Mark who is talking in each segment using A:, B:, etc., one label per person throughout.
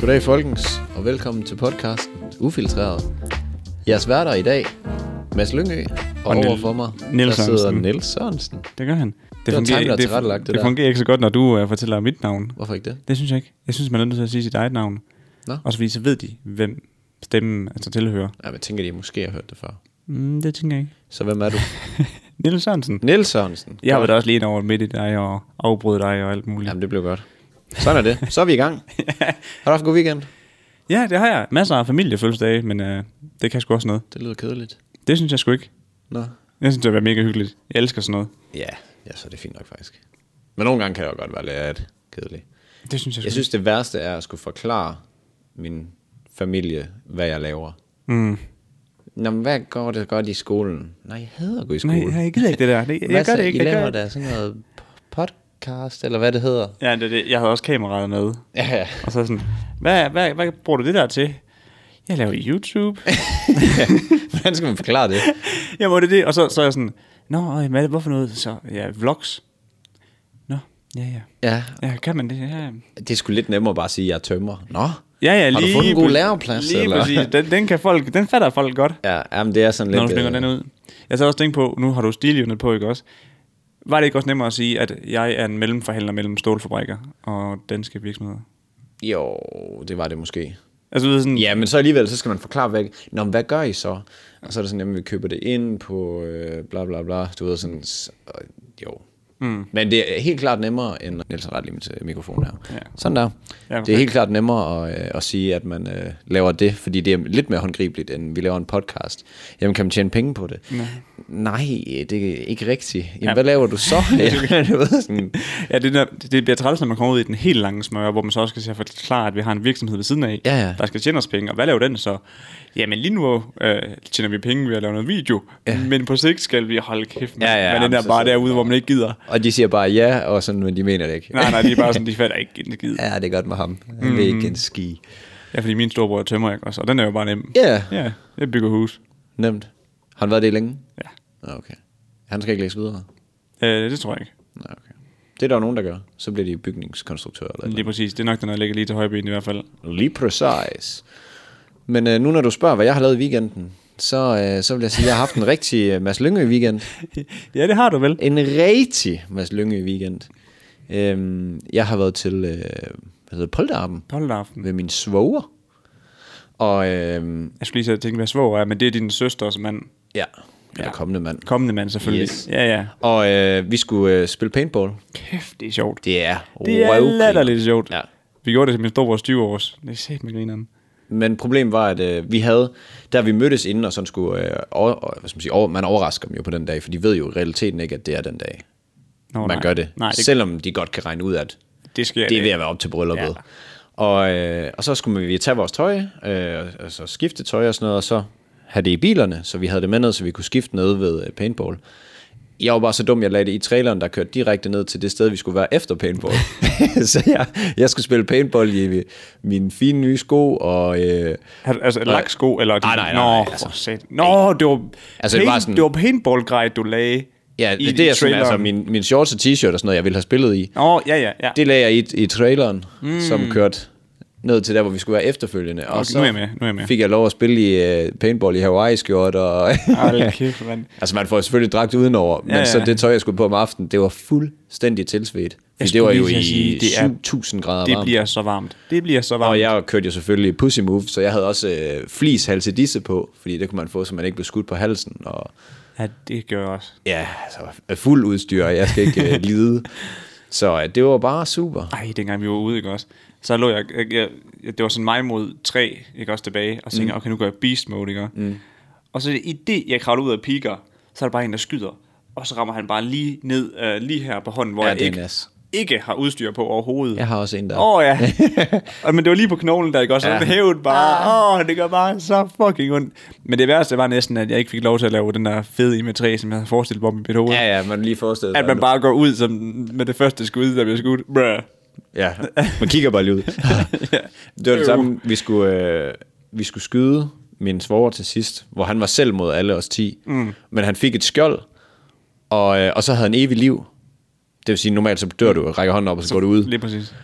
A: Goddag folkens, og velkommen til podcasten Ufiltreret. Jeres værter i dag, Mads Lyngø, og,
B: Og
A: og
B: Niel-
A: overfor mig,
B: Niels
A: der sidder
B: Sørensen.
A: Niels Sørensen.
B: Det gør han. Det,
A: var Tam, der
B: det,
A: tilrettelagde det
B: det,
A: der.
B: det fungerer ikke så godt, når du uh, fortæller mit navn.
A: Hvorfor ikke det?
B: Det synes jeg ikke. Jeg synes, man er nødt til at sige sit eget navn.
A: Nå.
B: Også fordi så ved de, hvem stemmen altså tilhører.
A: Ja, men tænker, de måske har hørt det før.
B: Mm, det tænker jeg ikke.
A: Så hvem er du?
B: Niels Sørensen.
A: Niels Sørensen.
B: Jeg har været også lige ind over midt i dig og afbrød dig og alt muligt.
A: Jamen, det blev godt. Sådan er det. Så er vi i gang. Har du haft en god weekend?
B: Ja, det har jeg. Masser af familiefødselsdage, men uh, det kan sgu også noget.
A: Det lyder kedeligt.
B: Det synes jeg sgu ikke.
A: Nå.
B: Jeg synes, det var mega hyggeligt. Jeg elsker sådan noget.
A: Ja, ja, så er det fint nok faktisk. Men nogle gange kan jeg jo godt være lidt kedelig.
B: Det synes jeg sgu
A: Jeg synes, det værste er at skulle forklare min familie, hvad jeg laver.
B: Mm.
A: Nå, men hvad går det godt i skolen? Nej, jeg hader at gå i skole.
B: Nej, jeg gider ikke det der. Det, jeg,
A: Hvad
B: jeg gør
A: så?
B: det ikke.
A: I
B: Jeg,
A: laver
B: gør...
A: da sådan noget p- podcast, eller hvad det hedder.
B: Ja, det, er det, jeg havde også kameraet med.
A: Ja,
B: Og så sådan, hvad, hvad, hvad bruger du det der til? Jeg laver YouTube.
A: hvordan skal man forklare det?
B: jeg måtte det. Og så, så er jeg sådan, nå, øj, hvad, hvorfor noget? Så, ja, vlogs. Nå, ja, ja.
A: Ja,
B: Ja, kan man det? Ja, ja.
A: det er sgu lidt nemmere bare at sige, at jeg er tømmer. Nå,
B: ja, ja
A: har
B: lige
A: du fået en god
B: præ-
A: læreplads?
B: Lige
A: eller?
B: præcis. Den, den, kan folk, den fatter folk godt,
A: Ja, jamen, det er sådan
B: når du
A: lidt...
B: slynger
A: øh,
B: den ud. Jeg så også tænkt på, nu har du stiljonet på, ikke også? Var det ikke også nemmere at sige, at jeg er en mellemforhandler mellem stålfabrikker og danske virksomheder?
A: Jo, det var det måske.
B: Altså, du ved sådan,
A: Ja, men så alligevel, så skal man forklare, hvad, Nå, men hvad gør I så? Og så er det sådan, jamen, vi køber det ind på øh, bla bla bla, du ved sådan, s- og, jo. Mm. Men det er helt klart nemmere end, Niels har ret lige med mikrofonen her. Ja.
B: Ja.
A: Sådan der.
B: Ja,
A: det er helt klart nemmere at, øh, at sige, at man øh, laver det, fordi det er lidt mere håndgribeligt, end vi laver en podcast. Jamen, kan man tjene penge på det? Nej, Nej det er ikke rigtigt. Jamen, ja. hvad laver du så? Ja, du ved, sådan,
B: Ja, det, der, det bliver træls, når man kommer ud i den helt lange smør, hvor man så også skal til at forklare, at vi har en virksomhed ved siden af,
A: Ja, ja.
B: der skal tjene os penge. Og hvad laver den så? Jamen lige nu øh, tjener vi penge ved at lave noget video, ja. men på sigt skal vi holde kæft med,
A: Ja, ja,
B: med
A: jamen,
B: den der
A: så
B: bare
A: sidder
B: derude, hvor man ikke gider.
A: og de siger bare ja, og sådan, men de mener det ikke.
B: Nej, nej, det er bare sådan, de Mm. fatter ikke en skid.
A: Ja, det er godt med ham. Han vil ikke en ski.
B: Ja, fordi min storebror er tømmer, ikke også? Og den er jo bare nem.
A: Ja. Yeah.
B: Ja, jeg bygger hus.
A: Nemt. Har han været det længe?
B: Ja.
A: Nå, Okay. Han skal ikke læse videre?
B: Øh, det tror jeg ikke.
A: Nej, okay. Det er der jo nogen, der gør. Så bliver de bygningskonstruktører eller et
B: Lige præcis. Det er nok den, der ligger lige til højbenet i hvert fald.
A: eller andet. Lige præcis. Men øh, nu når du spørger, hvad jeg har lavet i weekenden, så, øh, så vil jeg sige, at jeg har haft en rigtig øh, Mads Lyngø weekend.
B: ja, det har du vel.
A: En rigtig Mads Lyngø weekend. Øhm, jeg har været til, øh, hvad hedder det, Polterappen
B: Hold aften.
A: ved min svoger. Og øh,
B: Jeg skulle lige så tænke, hvad svår er, men det er din søsters mand.
A: ja, eller ja. kommende mand.
B: Kommende mand selvfølgelig.
A: Yes.
B: Ja, ja.
A: Og øh, vi skulle øh, spille paintball.
B: Kæft, det er sjovt.
A: Det er
B: Det er
A: røvgrineren.
B: latterligt sjovt.
A: Ja.
B: Vi gjorde det til min storebrors 20 års. Det er sæt med grineren.
A: Men problemet var, at øh, vi havde, da vi mødtes inden, og sådan skulle, øh, over, og, hvad skal man, sige, over, man overrasker dem jo på den dag, for de ved jo i realiteten ikke, at det er den dag,
B: Nå,
A: man gør det.
B: Nej, det,
A: Selvom de godt kan regne ud, at
B: det sker
A: det er ved
B: ikke.
A: at være op til brylluppet. Ja. Og, øh, og så skulle vi tage vores tøj, øh, og- og så skifte tøj og sådan noget, og så have det i bilerne, så vi havde det med ned, så vi kunne skifte nede ved øh, paintball. Jeg var bare så dum, jeg lagde det i traileren, der kørte direkte ned til det sted, vi skulle være efter paintball. så jeg, jeg skulle spille paintball i øh, mine fine nye sko, og... Øh,
B: Har du, altså, lagt sko, eller...
A: Nej, nej, nej,
B: Nå,
A: nej,
B: for sat. Nå, det var,
A: Altså,
B: altså,
A: det var
B: paint, det var,
A: sådan-
B: sådan... det var paintball-grej, du lagde
A: Ja,
B: i
A: det, det er sådan,
B: traileren.
A: altså min, min shorts og t-shirt og sådan noget, jeg ville have spillet i.
B: Nå, ja, ja, ja. Det,
A: Det lagde jeg i, i traileren, mm. som kørte ned til der, hvor vi skulle være efterfølgende. Og
B: Okay,
A: så
B: nu er jeg med, nu er jeg med.
A: fik jeg lov at spille i uh, paintball i Hawaii-skjort. Og
B: Hold kæft, mand.
A: altså, man får jo selvfølgelig dragt udenover, men
B: Ja, ja.
A: så det tøj, jeg skulle på om aftenen, det var fuldstændig tilsvedt. Fordi det
B: skulle
A: var
B: lige
A: jo
B: til
A: i
B: at sige, det er-
A: 7000 grader
B: det
A: varmt.
B: bliver så varmt. Det bliver så varmt.
A: Og jeg kørte jo selvfølgelig pussy move, så jeg havde også øh, flis halsedisse på, fordi det kunne man få, så man ikke blev skudt på halsen. Og
B: Ja, det gør jeg også.
A: ja, altså, er fuld udstyr, og jeg skal ikke øh, lide. Så øh, det var bare super.
B: Ej, dengang vi var ude, ikke også? Så lå jeg, jeg, jeg det var sådan mig mod tre, ikke også tilbage, og så tænkte, mm. okay, nu går jeg beast mode, ikke også? Mm. Og så i det, jeg kravler ud af piker, så er der bare en, der skyder, og så rammer han bare lige ned, øh, lige her på hånden, hvor
A: Ja,
B: jeg
A: det er
B: ikke,
A: nas.
B: ikke har udstyr på overhovedet.
A: Jeg har også en der.
B: Åh oh, ja, og, men det var lige på knoglen der, ikke også?
A: Ja. Ah.
B: Ja. Den hævet bare, åh, oh, det gør bare så fucking ondt. Men det værste var næsten, at jeg ikke fik lov til at lave den der fede imagerie, som jeg havde forestillet mig om i mit hoved.
A: Ja, ja, man lige forestiller sig.
B: At man bare går ud som, med det første skud, der bliver skudt. Bruh.
A: Ja, man kigger bare lige ud. det var det samme, vi skulle, øh, vi skulle skyde min svoger til sidst, hvor han var selv mod alle os 10. Mm. Men han fik et skjold, og, øh, og så havde han evig liv. Det vil sige, normalt så dør du og rækker hånden op, og så, går du ud.
B: Lige præcis.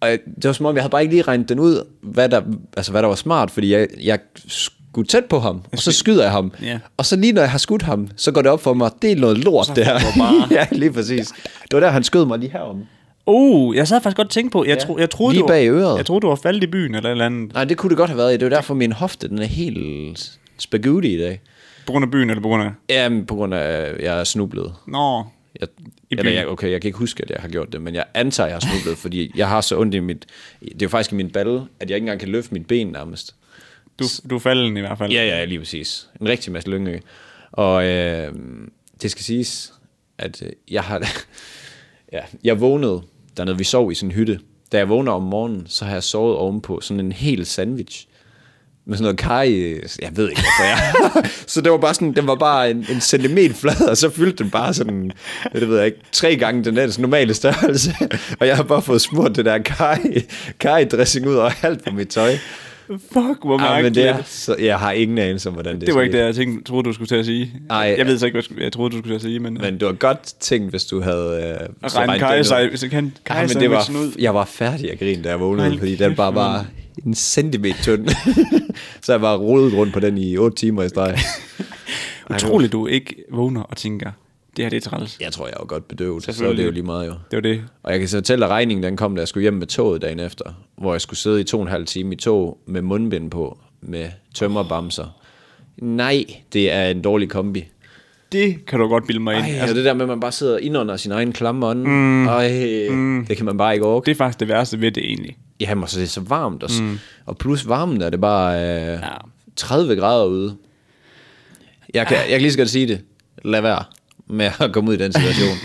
A: Og jeg- det var som om, jeg havde bare ikke lige regnet den ud, hvad der, altså, hvad der var smart, fordi jeg, jeg skulle tæt på ham, og så skyder jeg ham.
B: Ja.
A: Og så lige når jeg har skudt ham, så går det op for mig, det er noget lort, det her.
B: bare-
A: ja, lige præcis. Det var der, han skød mig lige herom.
B: Uh, jeg sad faktisk godt og tænkte på, jeg, tro, jeg troede,
A: Lige
B: du,
A: bag øret.
B: Jeg troede, du var faldet i byen eller et eller andet.
A: Nej, det kunne det godt have været. Det var derfor, min hofte, den er helt spaghetti i dag.
B: På grund af byen eller på grund af...
A: Jamen, på grund af, at jeg er snublet.
B: Nå,
A: Jeg,
B: I
A: eller
B: byen?
A: jeg, okay, jeg kan ikke huske, at jeg har gjort det, men jeg antager, at jeg har snublet, fordi jeg har så ondt i mit... Det er jo faktisk i min balle, at jeg ikke engang kan løfte mit ben nærmest.
B: du, du er falden i hvert fald.
A: Ja, ja, lige præcis. En rigtig masse lyngø. Og øh, det skal siges, at øh, jeg har... ja, jeg vågnede dernede, vi sov i sådan en hytte. Da jeg vågner om morgenen, så har jeg sovet ovenpå sådan en hel sandwich. Med sådan noget kaj, jeg ved ikke, hvorfor jeg... så det var bare sådan, den var bare en, en centimeter flad, og så fyldte den bare sådan, det ved jeg ikke, tre gange den ellers normale størrelse. og jeg har bare fået smurt det der kaj, kaj dressing ud over alt på mit tøj.
B: Fuck, hvor
A: Ja, men
B: mærkeligt.
A: det er, så jeg har ingen anelse om, hvordan det
B: det var ikke
A: skete.
B: det, jeg tænkte, troede, du skulle til at sige.
A: Ej.
B: jeg ved så ikke, hvad jeg skulle- jeg troede, du skulle til at sige, men... men
A: Men det var godt tænkt, hvis du havde... Øh,
B: at
A: så
B: regne
A: regnet
B: Kaj
A: det ud.
B: sig, hvis jeg kan
A: Ej,
B: Kaj
A: men
B: sig
A: det var,
B: sådan ud.
A: jeg var færdig at grine, da jeg vågnede,
B: Hold
A: fordi den
B: kæft,
A: bare var en centimeter tynd. så jeg bare rodede rundt på den i 8 timer i streg.
B: Utroligt, du ikke vågner og tænker, det her det er træls.
A: Jeg tror, jeg var godt bedøvet, så er det
B: Selvfølgelig.
A: jo lige meget jo.
B: Det var det.
A: Og jeg kan så fortælle, at regningen den kom, da jeg skulle hjem med toget dagen efter, hvor jeg skulle sidde i to og en halv time i tog med mundbind på, med tømmerbamser. Nej, det er en dårlig kombi.
B: Det kan du godt bilde mig ind.
A: Ej,
B: Ej,
A: altså, det der med, at man bare sidder indunder sin egen klamme ånd, mm, ej, mm, det kan man bare ikke overgå.
B: Det er faktisk det værste ved det egentlig.
A: Jamen, og så er altså, det så varmt også. Mm. Og plus varmen er det bare øh,
B: Ja.
A: 30 grader ude. Jeg kan, jeg kan lige så godt sige det. Lad være med at komme ud i den situation.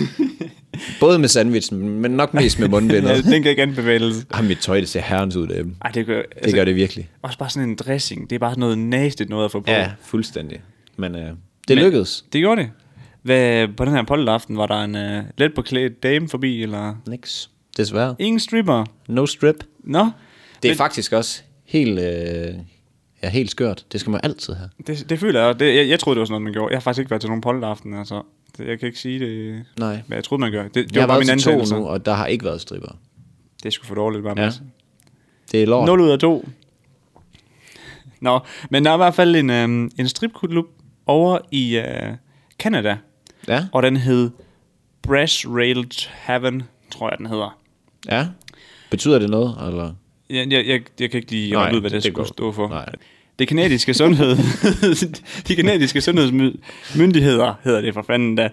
A: Både med sandwichen, men nok mest med mundbindet.
B: Altså, den kan ikke anbefales.
A: Ej, mit tøj, det ser herrens ud derhjemme.
B: Ej, det gør, altså,
A: Det gør det virkelig.
B: Også bare sådan en dressing. Det er bare sådan noget nasty noget at få på.
A: Ja, fuldstændig. Men øh, det lykkedes.
B: Det gjorde det. Hvad, på den her polteraften, var der en uh, let beklædt dame forbi, eller
A: Niks. Desværre.
B: ingen stripper?
A: No strip.
B: Nå,
A: Det er faktisk også helt, øh, ja, helt skørt. Det skal man altid have.
B: det, det føler jeg. Det, jeg. Jeg troede, det var sådan noget, man gjorde. Jeg har faktisk ikke været til nogen polteraften, altså. Det, jeg kan ikke sige det,
A: Nej.
B: hvad jeg troede, man gjorde. Det, det
A: Jeg har
B: var bare
A: været
B: min altså.
A: til to
B: antagelse.
A: nu, og der har ikke været stripper.
B: Det er sgu for dårligt, bare
A: Ja.
B: ja.
A: Det er lort.
B: 0 ud af 2. Nå, men der er i hvert fald en, øhm, en stripklub over i øh, Canada,
A: Ja,
B: og den hed Brass Rail Heaven, tror jeg, den hedder.
A: ja. Betyder det noget, eller?
B: Jeg, jeg, jeg, jeg kan ikke lige
A: Nej,
B: regne ud, hvad det,
A: det
B: det skulle
A: går-
B: stå for.
A: nej.
B: Det kanadiske sundhed, de kanadiske sundhedsmyndigheder, hedder det for fanden da,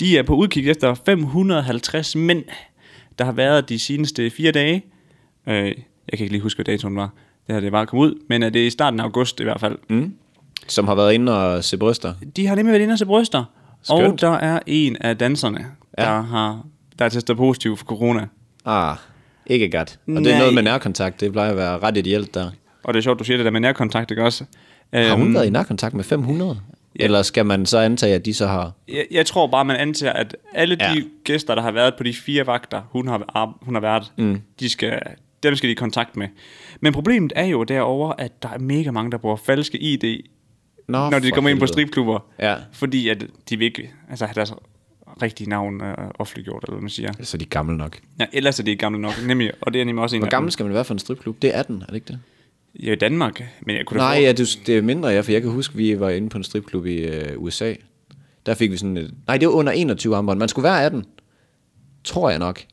B: de er på udkig efter 550 mænd, der har været de seneste fire dage. Øh, jeg kan ikke lige huske, hvad datoen var. Det har det bare kommet ud, men øh, det er i starten af august i hvert fald.
A: Mm. Som har været inde og se bryster.
B: De har nemlig været inde og se bryster, og
A: Skønt.
B: der er en af danserne,
A: Ja.
B: ja. der, har, der er testet positiv for corona.
A: Ah, ikke godt. Og det er
B: Nej.
A: noget med nærkontakt. Det plejer at være ret ideelt der.
B: Og det er sjovt, du siger det der med nærkontakt, ikke også?
A: Har
B: Øhm,
A: hun været i nærkontakt med 500? Ja. Eller skal man så antage, at de så har...
B: Jeg, jeg tror bare, man antager, at alle de
A: Ja.
B: ja. gæster, der har været på de fire vagter, hun har, ar- hun har været, mm. de skal, dem skal de i kontakt med. Men problemet er jo derover, at der er mega mange, der bruger falske ID,
A: Nå,
B: når de
A: for
B: kommer ind på
A: helvede.
B: stripklubber.
A: Ja.
B: Fordi at de vil ikke altså, have deres rigtige navn øh, offentliggjort, eller hvad man siger.
A: Så er de gamle nok.
B: Ja, ellers er de ikke gamle nok, nemlig. Og det er nemlig også en
A: Hvor
B: af dem.
A: gammel skal man være for en stripklub? Det er 18, er det ikke det?
B: Ja, i Danmark. Men jeg kunne da
A: Nej,
B: for-
A: ja, det, det er mindre, ja, for jeg kan huske, vi var inde på en stripklub i øh, USA. Der fik vi sådan et... Nej, det var under 21 armbånd. Man skulle være 18. Tror jeg nok.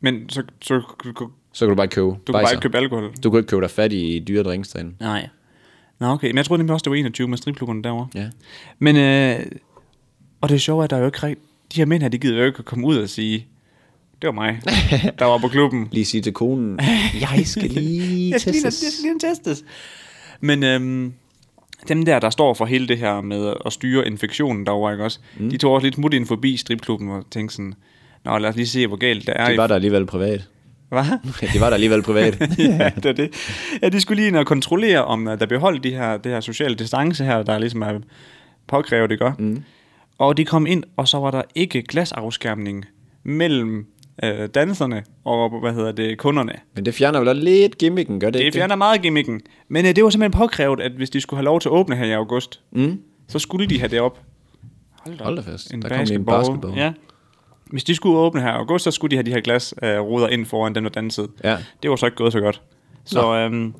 B: Men så, så, du, du,
A: Så kan du bare ikke købe.
B: du kan bare
A: bajser.
B: ikke købe alkohol.
A: Du kunne ikke købe dig fat i dyre drinks derinde.
B: Nej. Nå, okay. Men jeg troede nemlig også, det var 21 med stripklubberne derovre.
A: Ja.
B: Men, øh, og det sjove er, at der er jo ikke rigt... De her mænd her, de gider jo ikke at komme ud og sige, det var mig, der var på klubben.
A: Lige sige til konen, jeg skal lige
B: Jeg skal lige, jeg
A: testes.
B: skal lige testes. Men øhm, dem der, der står for hele det her med at styre infektionen derovre, ikke også? Mm. De tog også lidt smut ind forbi stripklubben og tænkte sådan, Nå, lad os lige se, hvor galt det er.
A: Det var der alligevel privat.
B: Hvad?
A: Det var der alligevel privat.
B: ja, det er det. Ja, de skulle lige ind og kontrollere, om øh, der blev holdt de her, det her sociale distance her, der ligesom er påkrævet, ikke? Mm. Og de kom ind, og så var der ikke glasafskærmning mellem øh, danserne og, hvad hedder det, kunderne.
A: Men det fjerner vel også lidt gimmicken, gør det,
B: Det
A: ikke det?
B: fjerner meget gimmicken. Men øh, det var simpelthen påkrævet, at hvis de skulle have lov til at åbne her i august, mm. så skulle de have det op. Hold da,
A: Hold da fast.
B: En
A: Der kom lige en
B: basketball.
A: basketball.
B: Ja. hvis de skulle åbne her i august, så skulle de have de her glasruder øh, ind foran den og den side.
A: Ja.
B: Det var så ikke gået så godt. Så øhm,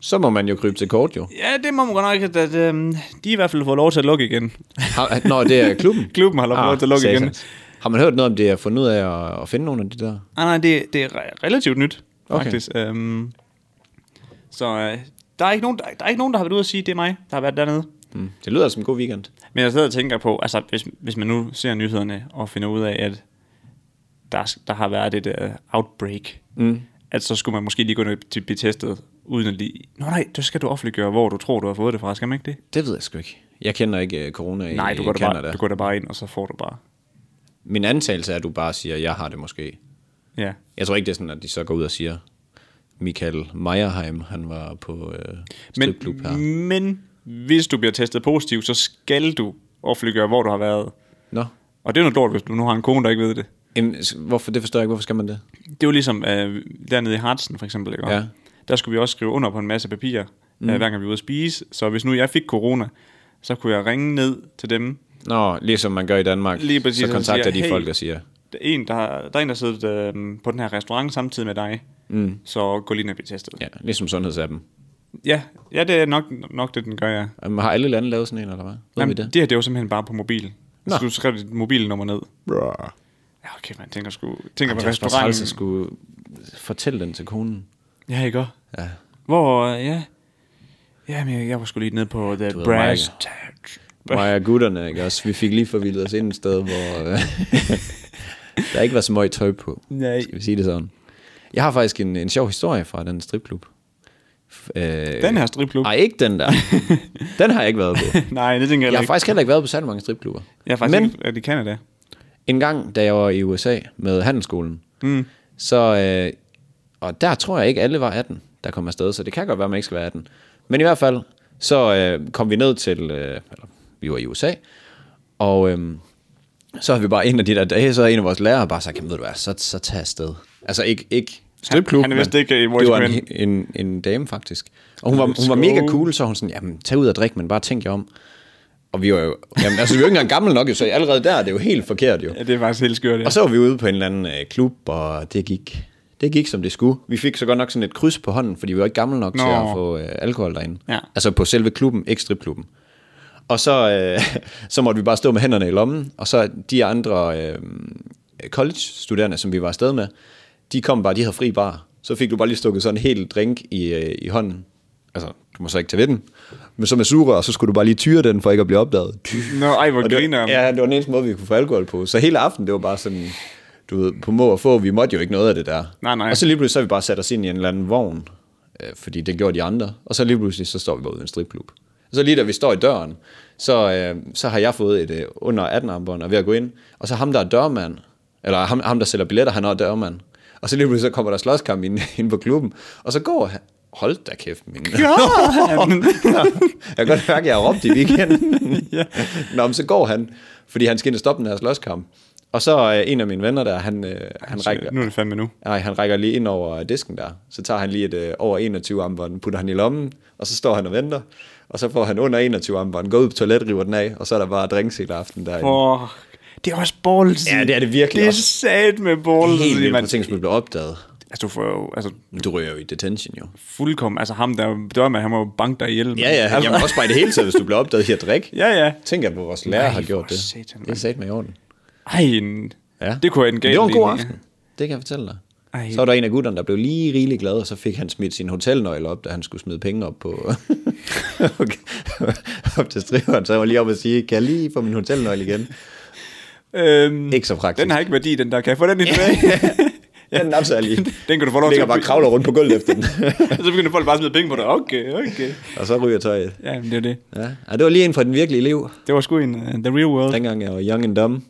A: Så må man jo krybe til kort, jo.
B: ja, det må man godt nok, at øhm, de i hvert fald får lov til at lukke igen.
A: Har, nå, det er klubben. Ah,
B: Klubben har lov til at lukke igen.
A: satans. Har man hørt noget om det, at fundet ud af at, at finde nogle af de der?
B: Nej, nej, det, det er re- relativt nyt,
A: Okay.
B: faktisk. Øhm, så øh, der, er ikke nogen, der, der er ikke nogen, der har været ude og sige, det er mig, der har været dernede.
A: Mm. Det lyder som en god weekend.
B: Men jeg sidder og tænker på, altså hvis, hvis man nu ser nyhederne og finder ud af, at der, er- der har været et uh, outbreak, mm. at så skulle man måske lige gå ned til blive testet, uden at lige... Nå nej, så skal du offentliggøre, hvor du tror, du har fået det fra, skal man ikke det?
A: Det ved jeg sgu ikke. Jeg kender ikke øh, corona i
B: nej, du
A: i
B: går, da
A: Canada.
B: bare, du går da bare ind, og så får du bare...
A: Min antagelse er, at du bare siger, jeg har det måske.
B: Ja.
A: Jeg tror ikke, det er sådan, at de så går ud og siger, Michael Meierheim, han var på øh, stripklub her.
B: Men, men hvis du bliver testet positiv, så skal du offentliggøre, hvor du har været.
A: Nå,
B: Og det er noget lort, hvis du nu har en kone, der ikke ved det.
A: Jamen, s- hvorfor, det forstår jeg ikke. Hvorfor skal man det?
B: Det er jo ligesom øh, dernede i Hartsen, for eksempel. Ikke?
A: Ja.
B: Der skulle vi også skrive under på en masse papirer, mm. øh, hver gang vi var ude at spise. Så hvis nu jeg fik corona, så kunne jeg ringe ned til dem.
A: Nå, ligesom man gør i Danmark,
B: Lige præcis,
A: så
B: så
A: kontakter
B: siger jeg,
A: de
B: "Hey."
A: folk og siger,
B: Der er en, der, har- der, er en, der sidder øh, på den her restaurant samtidig med dig. Mm. Så gå lige ned og blive testet.
A: ja, ligesom sundhedsappen.
B: Ja, ja det er nok, nok det, den gør, ja.
A: Jamen, har alle lande lavet sådan en, eller hvad? Ved
B: Jamen,
A: vi det?
B: det her, det er jo simpelthen bare på mobil.
A: Nå.
B: Så du skrev dit mobilnummer ned.
A: Brrr.
B: Ja, okay, man tænker sgu... Tænker på
A: Det er også bare træls altså. at
B: restauranten.
A: skulle fortælle den til konen.
B: Ja, ikke også?
A: Ja.
B: Hvor, øh, ja... Jamen, jeg, jeg var sgu lige nede på The
A: ved,
B: Brass
A: Mike.
B: Touch.
A: Mig og gutterne, ikke også? Vi fik lige forvildet os ind et sted, hvor øh, der ikke var så meget tøj på.
B: Nej.
A: Skal vi sige det sådan? Jeg har faktisk en, en sjov historie fra den stripklub. F- Øh,
B: Den her stripklub?
A: Nej, ikke den der. den har jeg ikke været på.
B: Nej, det tænker
A: Jeg
B: jeg, jeg
A: har
B: ikke.
A: faktisk heller ikke været på særlig mange stripklubber.
B: Jeg er faktisk
A: Men
B: Men... ikke, at i Canada.
A: en gang, da jeg var i USA med handelsskolen, mm. så, øh, og der tror jeg ikke, alle var 18, der kom afsted, så det kan godt være, at man ikke skal være 18. Men i hvert fald, så øh, kom vi ned til, øh, eller, vi var i USA, og øh, så havde vi bare en af de der dage, så havde en af vores lærere bare sagt, "Jamen, ved du hvad, så, så tag afsted. Altså ikke, ikke stripklub,
B: han er vist
A: men
B: ikke i
A: det var en,
B: Voice
A: en, en dame faktisk. Og hun var, hun var mega cool, så var hun sådan, jamen tag ud og drik, men bare tænk jer om. Og vi var jo, jamen, altså vi var jo ikke engang gamle nok, jo, så allerede der er det jo helt forkert jo.
B: Ja, det er faktisk helt skørt, ja.
A: Og så var vi ude på en eller anden øh, klub, og det gik, det gik som det skulle. Vi fik så godt nok sådan et kryds på hånden, fordi vi var ikke gamle nok Nå. til
B: Nå.
A: at få øh, alkohol derinde.
B: Ja.
A: Altså på selve klubben, ikke stripklubben. Og så, øh, så måtte vi bare stå med hænderne i lommen, og så de andre øh, college-studerende, som vi var afsted med, de kom bare, de havde fri bar. Så fik du bare lige stukket sådan en hel drink i, øh, i hånden. Altså, du må så ikke tage ved den. Men så med sugerør, så skulle du bare lige tyre den, for ikke at blive opdaget.
B: Nå, ej, hvor
A: Og det,
B: griner
A: var- ja, det var den eneste måde, vi kunne få alkohol på. Så hele aftenen, det var bare sådan, du ved, på må og få, vi måtte jo ikke noget af det der.
B: Nej, nej.
A: Og så lige pludselig, så har vi bare sat os ind i en eller anden vogn, øh, fordi det gjorde de andre. Og så lige pludselig, så står vi bare ude i en stripklub. Og så lige da vi står i døren, så, øh, så har jeg fået et øh, under 18 armbånd og er ved at gå ind. Og så ham, der er dørmand, eller ham, ham der sælger billetter, han er også dørmand. Og så lige pludselig, så kommer der slåskamp ind, ind på klubben. Og så går han, hold da kæft, min. Jeg kan godt mærke, at jeg har råbt i weekenden. ja. Nå, men så går han, fordi han skal ind og stoppe den her slåskamp. Og så øh, en af mine venner der, han, øh, han, rækker,
B: Nu er det fandme nu.
A: nej, han rækker lige ind over disken der. Så tager han lige et øh, over 21 armbånd, putter han i lommen, og så står han og venter. Og så får han under 21 armbånd, går ud på toilet, river den af, og så er der bare drinks hele aften der.
B: For... Det er også ballsy.
A: Ja, det er det virkelig
B: Det er
A: også.
B: sat med ballsy,
A: Helt vildt på
B: mand.
A: ting, som bliver opdaget.
B: Altså, du får jo, altså,
A: Men Du ryger jo i detention jo.
B: fuldkommen, altså ham der dørmand, han må jo banke dig ihjel. mand.
A: Ja, ja,
B: altså,
A: jamen, også bare i det hele taget, hvis du bliver opdaget i at drikke.
B: ja, ja.
A: Tænk, at vores lærer
B: Nej,
A: har gjort
B: for
A: det.
B: satan,
A: det er sat med i orden.
B: Ej, en... ja. det kunne have en gal
A: Det var en god
B: ligning,
A: aften. Det kan jeg fortælle dig.
B: Ej.
A: Ej. Så var der en af gutterne, der blev lige rigeligt glad, og så fik han smidt sin hotelnøgle op, da han skulle smide penge op på okay. op til striveren. Så jeg var lige oppe og sige, kan jeg lige få min hotelnøgle igen?
B: Ja. Øhm,
A: Ikke så praktisk.
B: den har ikke værdi, den der. Kan jeg få den i tilbage?
A: Ja, den napser jeg lige.
B: Den kan du få lov til
A: Ligger
B: at
A: bare og
B: by-
A: kravler rundt på gulvet efter den.
B: så begynder folk bare at smide penge på dig. Okay, okay.
A: og så ryger tøjet.
B: Ja, men det er det.
A: Ja. ja, det var lige en fra den virkelige liv,
B: Det var sgu en uh, The Real World.
A: dengang jeg var young and dumb.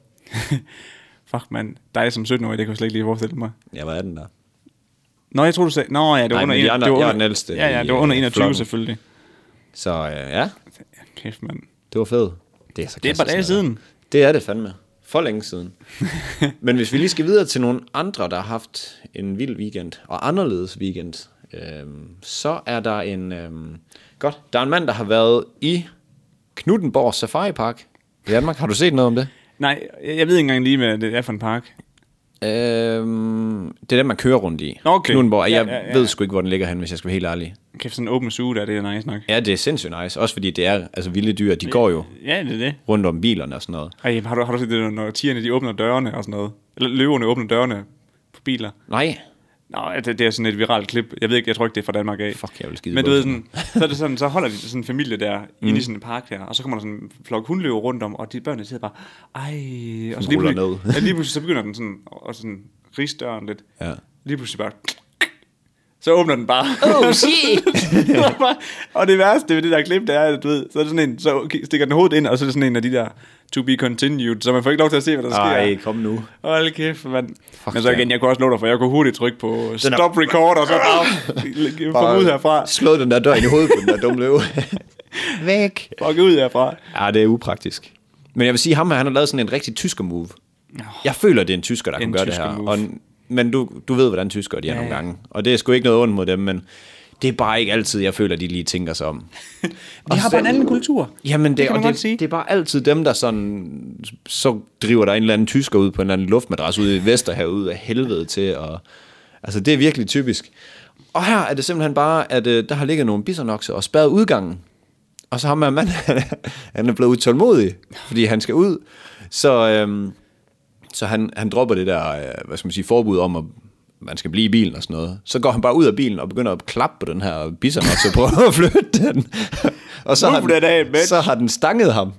B: Fuck, mand. Dig som 17-årig, det kan jeg slet ikke lige forestille mig.
A: Jeg var 18 der.
B: Nå, jeg tror du sagde... Nå, ja, det var
A: Nej,
B: under...
A: men de
B: en-
A: andre-
B: det var
A: jeg
B: under-
A: var den ældste
B: Ja, ja,
A: i,
B: det var under
A: øh,
B: 21
A: flokken.
B: selvfølgelig.
A: Så øh, ja,
B: Ja, Kæft, mand.
A: det var fedt. Det er, så
B: Det er et par dage siden.
A: Det er det fandme. For længe siden. Men hvis vi lige skal videre til nogle andre, der har haft en vild weekend, og anderledes weekend, øhm, så er der en... Øhm, godt. Der er en mand, der har været i Knuttenborg Safari Park i Danmark. Har du set noget om det?
B: Nej, jeg jeg ved ikke engang lige, hvad det er for en park.
A: Øhm, det er den, man kører rundt i.
B: Nå, okay.
A: Knuthenborg.
B: Ja,
A: Jeg
B: ja, ja.
A: ved sgu ikke, hvor den ligger hen, hvis jeg skal være helt ærlig.
B: Kæft, sådan en åben suge der, det er nice nok.
A: Ja, det er sindssygt nice. Også fordi det er altså, vilde dyr. De går jo
B: Ja, det er det.
A: rundt om bilerne og sådan noget.
B: Ej, har du, har du set det, når- når tierne de åbner dørene og sådan noget? Eller løverne åbner dørene på biler?
A: Nej.
B: Nå, ja, det, det er sådan et viralt klip. Jeg ved ikke, jeg tror ikke, det er fra Danmark af.
A: Fuck, jeg vil skide
B: Men
A: på
B: du ved
A: sådan
B: sådan, så er det sådan, så holder de sådan en familie der mm. inde i sådan en park der, og så kommer der sådan en flok hundløver rundt om, og de børnene sidder bare, ej, og så lige
A: Ruller
B: pludselig,
A: ned.
B: ja, lige pludselig så begynder den sådan, og sådan riste døren lidt.
A: Ja.
B: Lige pludselig bare, så åbner den bare.
A: Oh, shit!
B: og det værste ved det der klip, det er, at du ved, så er det sådan en, så stikker den hovedet ind, og så er det sådan en af de der, to be continued, så man får ikke lov til at se, hvad der sker.
A: Ej, kom nu.
B: Hold kæft, mand.
A: Fuck,
B: Men så igen,
A: ja.
B: jeg kunne også love dig for, jeg kunne hurtigt trykke på stop record, og så bare, bare ud herfra.
A: Slå den der dør ind i hovedet på den der dumme løve. Væk.
B: Fuck ud herfra.
A: Ja, det er upraktisk. Men jeg vil sige, ham her, han har lavet sådan en rigtig tysker move. Jeg føler, det er en tysker, der
B: En
A: kunne gøre det
B: tysker
A: her.
B: move.
A: Og, men du, du ved, hvordan tyskere de er ja, nogle
B: ja.
A: gange. Og det er sgu ikke noget ondt mod dem, men det er bare ikke altid, jeg føler, de lige tænker sig om.
B: Vi har bare en anden kultur.
A: Jamen, det,
B: Det
A: det,
B: kan
A: og
B: man godt
A: det,
B: sige.
A: det er bare altid dem, der sådan... Så driver der en eller anden tysker ud på en eller anden luftmadras ude i Vesterhavet ud af helvede til. Og, altså, det er virkelig typisk. Og her er det simpelthen bare, at øh, der har ligget nogle bisonokser og spærret udgangen. Og så har man mand, han er- han er blevet utålmodig, fordi han skal ud. Så, øhm, så han, han dropper det der, øh, hvad skal man sige, forbud om, at man skal blive i bilen og sådan noget. Så går han bare ud af bilen og begynder at klappe på den her bisonokse og prøver at flytte den. og så har,
B: Move that ass,
A: den,
B: bitch.
A: så har den stanget ham.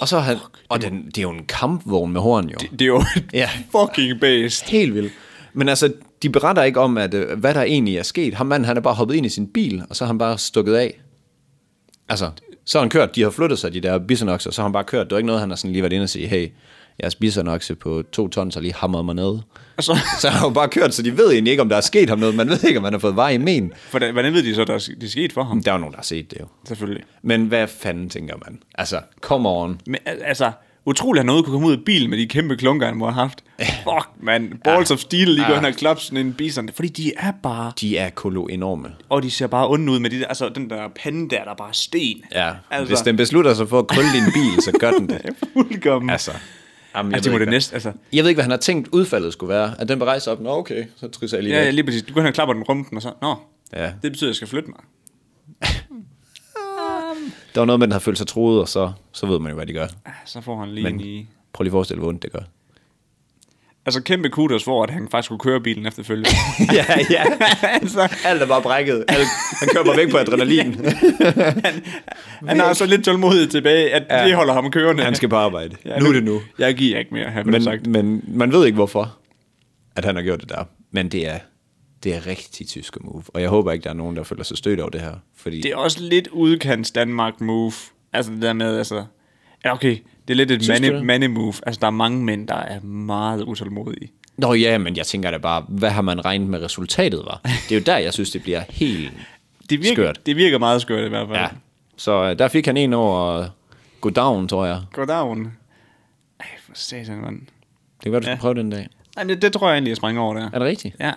A: Og så har han, og den, det er jo en kampvogn med horn jo.
B: Det er jo
A: Ja.
B: fucking based.
A: Helt vildt. Men altså, de beretter ikke om, at, øh, hvad der egentlig er sket. Ham manden, han er bare hoppet ind i sin bil, og så er han bare stukket af. Altså, så har han kørt. De har flyttet sig, de der bisonokser, så har han bare kørt. Det var ikke noget, han har sådan lige været inde og sige, hey, jeres bisonokse på to tons har lige hamret mig ned.
B: Og så,
A: Så har han jo bare kørt, så de ved egentlig ikke, om der er sket ham noget. Man ved ikke, om han har fået vej i men.
B: hvordan, hvordan ved de så, der er, sk- det er sket for ham?
A: Der er jo nogen, der har set det jo.
B: Selvfølgelig.
A: Men hvad fanden tænker man? Altså, come on.
B: Men al- altså, utroligt at noget kunne komme ud af bilen med de kæmpe klunker, han må have haft. Fuck, man. Balls of steel lige går
A: Ja.
B: hen og klap sådan en bison. Fordi de er bare...
A: De er kolo enorme.
B: Og de ser bare onde ud med de der, altså, den der pande der, der er bare sten.
A: Ja, altså.
B: altså,
A: hvis den beslutter sig for at krølle din bil, så gør den det.
B: Fuldkommen. Altså,
A: Altså, jamen,
B: altså det må det
A: næste.
B: næste, altså.
A: Jeg ved ikke, hvad han har tænkt udfaldet skulle være. At den bare rejser op, nå okay, så trisser jeg lige
B: Ja,
A: ja,
B: ja,
A: væk.
B: lige præcis. Du går hen og klapper den rumpen, og så, nå,
A: Ja.
B: det betyder, at jeg skal flytte mig.
A: Der var noget med, at den har følt sig troet, og så, så ved man jo, hvad de gør.
B: Ah, Så får han lige
A: Men-
B: Men. i...
A: Prøv lige at forestille, hvor ondt det gør.
B: Altså kæmpe kudos for, at han faktisk kunne køre bilen efterfølgende.
A: ja, ja.
B: altså,
A: Alt er bare brækket. Alt, han kører bare væk på adrenalin.
B: han har så lidt tålmodighed tilbage, at ja. det holder ham kørende.
A: Han skal på arbejde.
B: Ja,
A: nu er det nu.
B: Jeg giver ikke mere, har
A: Men,
B: men, sagt.
A: men man ved ikke, hvorfor, at han har gjort det der. Men det er, det er rigtig tyske move. Og jeg håber ikke, der er nogen, der føler sig stødt over det her. Fordi
B: Det er også lidt udkants Danmark move. Altså det der med, altså... Ja, okay, det er lidt et
A: Synes du
B: mande,
A: det?
B: mande move. Altså der er mange mænd, der er meget utålmodige.
A: Nå ja, men jeg tænker da bare, hvad har man regnet med resultatet var? Det er jo der, jeg synes, det bliver helt
B: Det virker,
A: skørt.
B: Det virker meget skørt i hvert fald.
A: Ja. Så øh, der fik han en over Goddagen, tror jeg.
B: Goddagen. Ej, for satan, mand.
A: Det kan være, du skal
B: Ja.
A: prøve den dag.
B: Ej, det, det tror jeg egentlig, jeg springer over der.
A: Er det rigtigt?
B: Ja.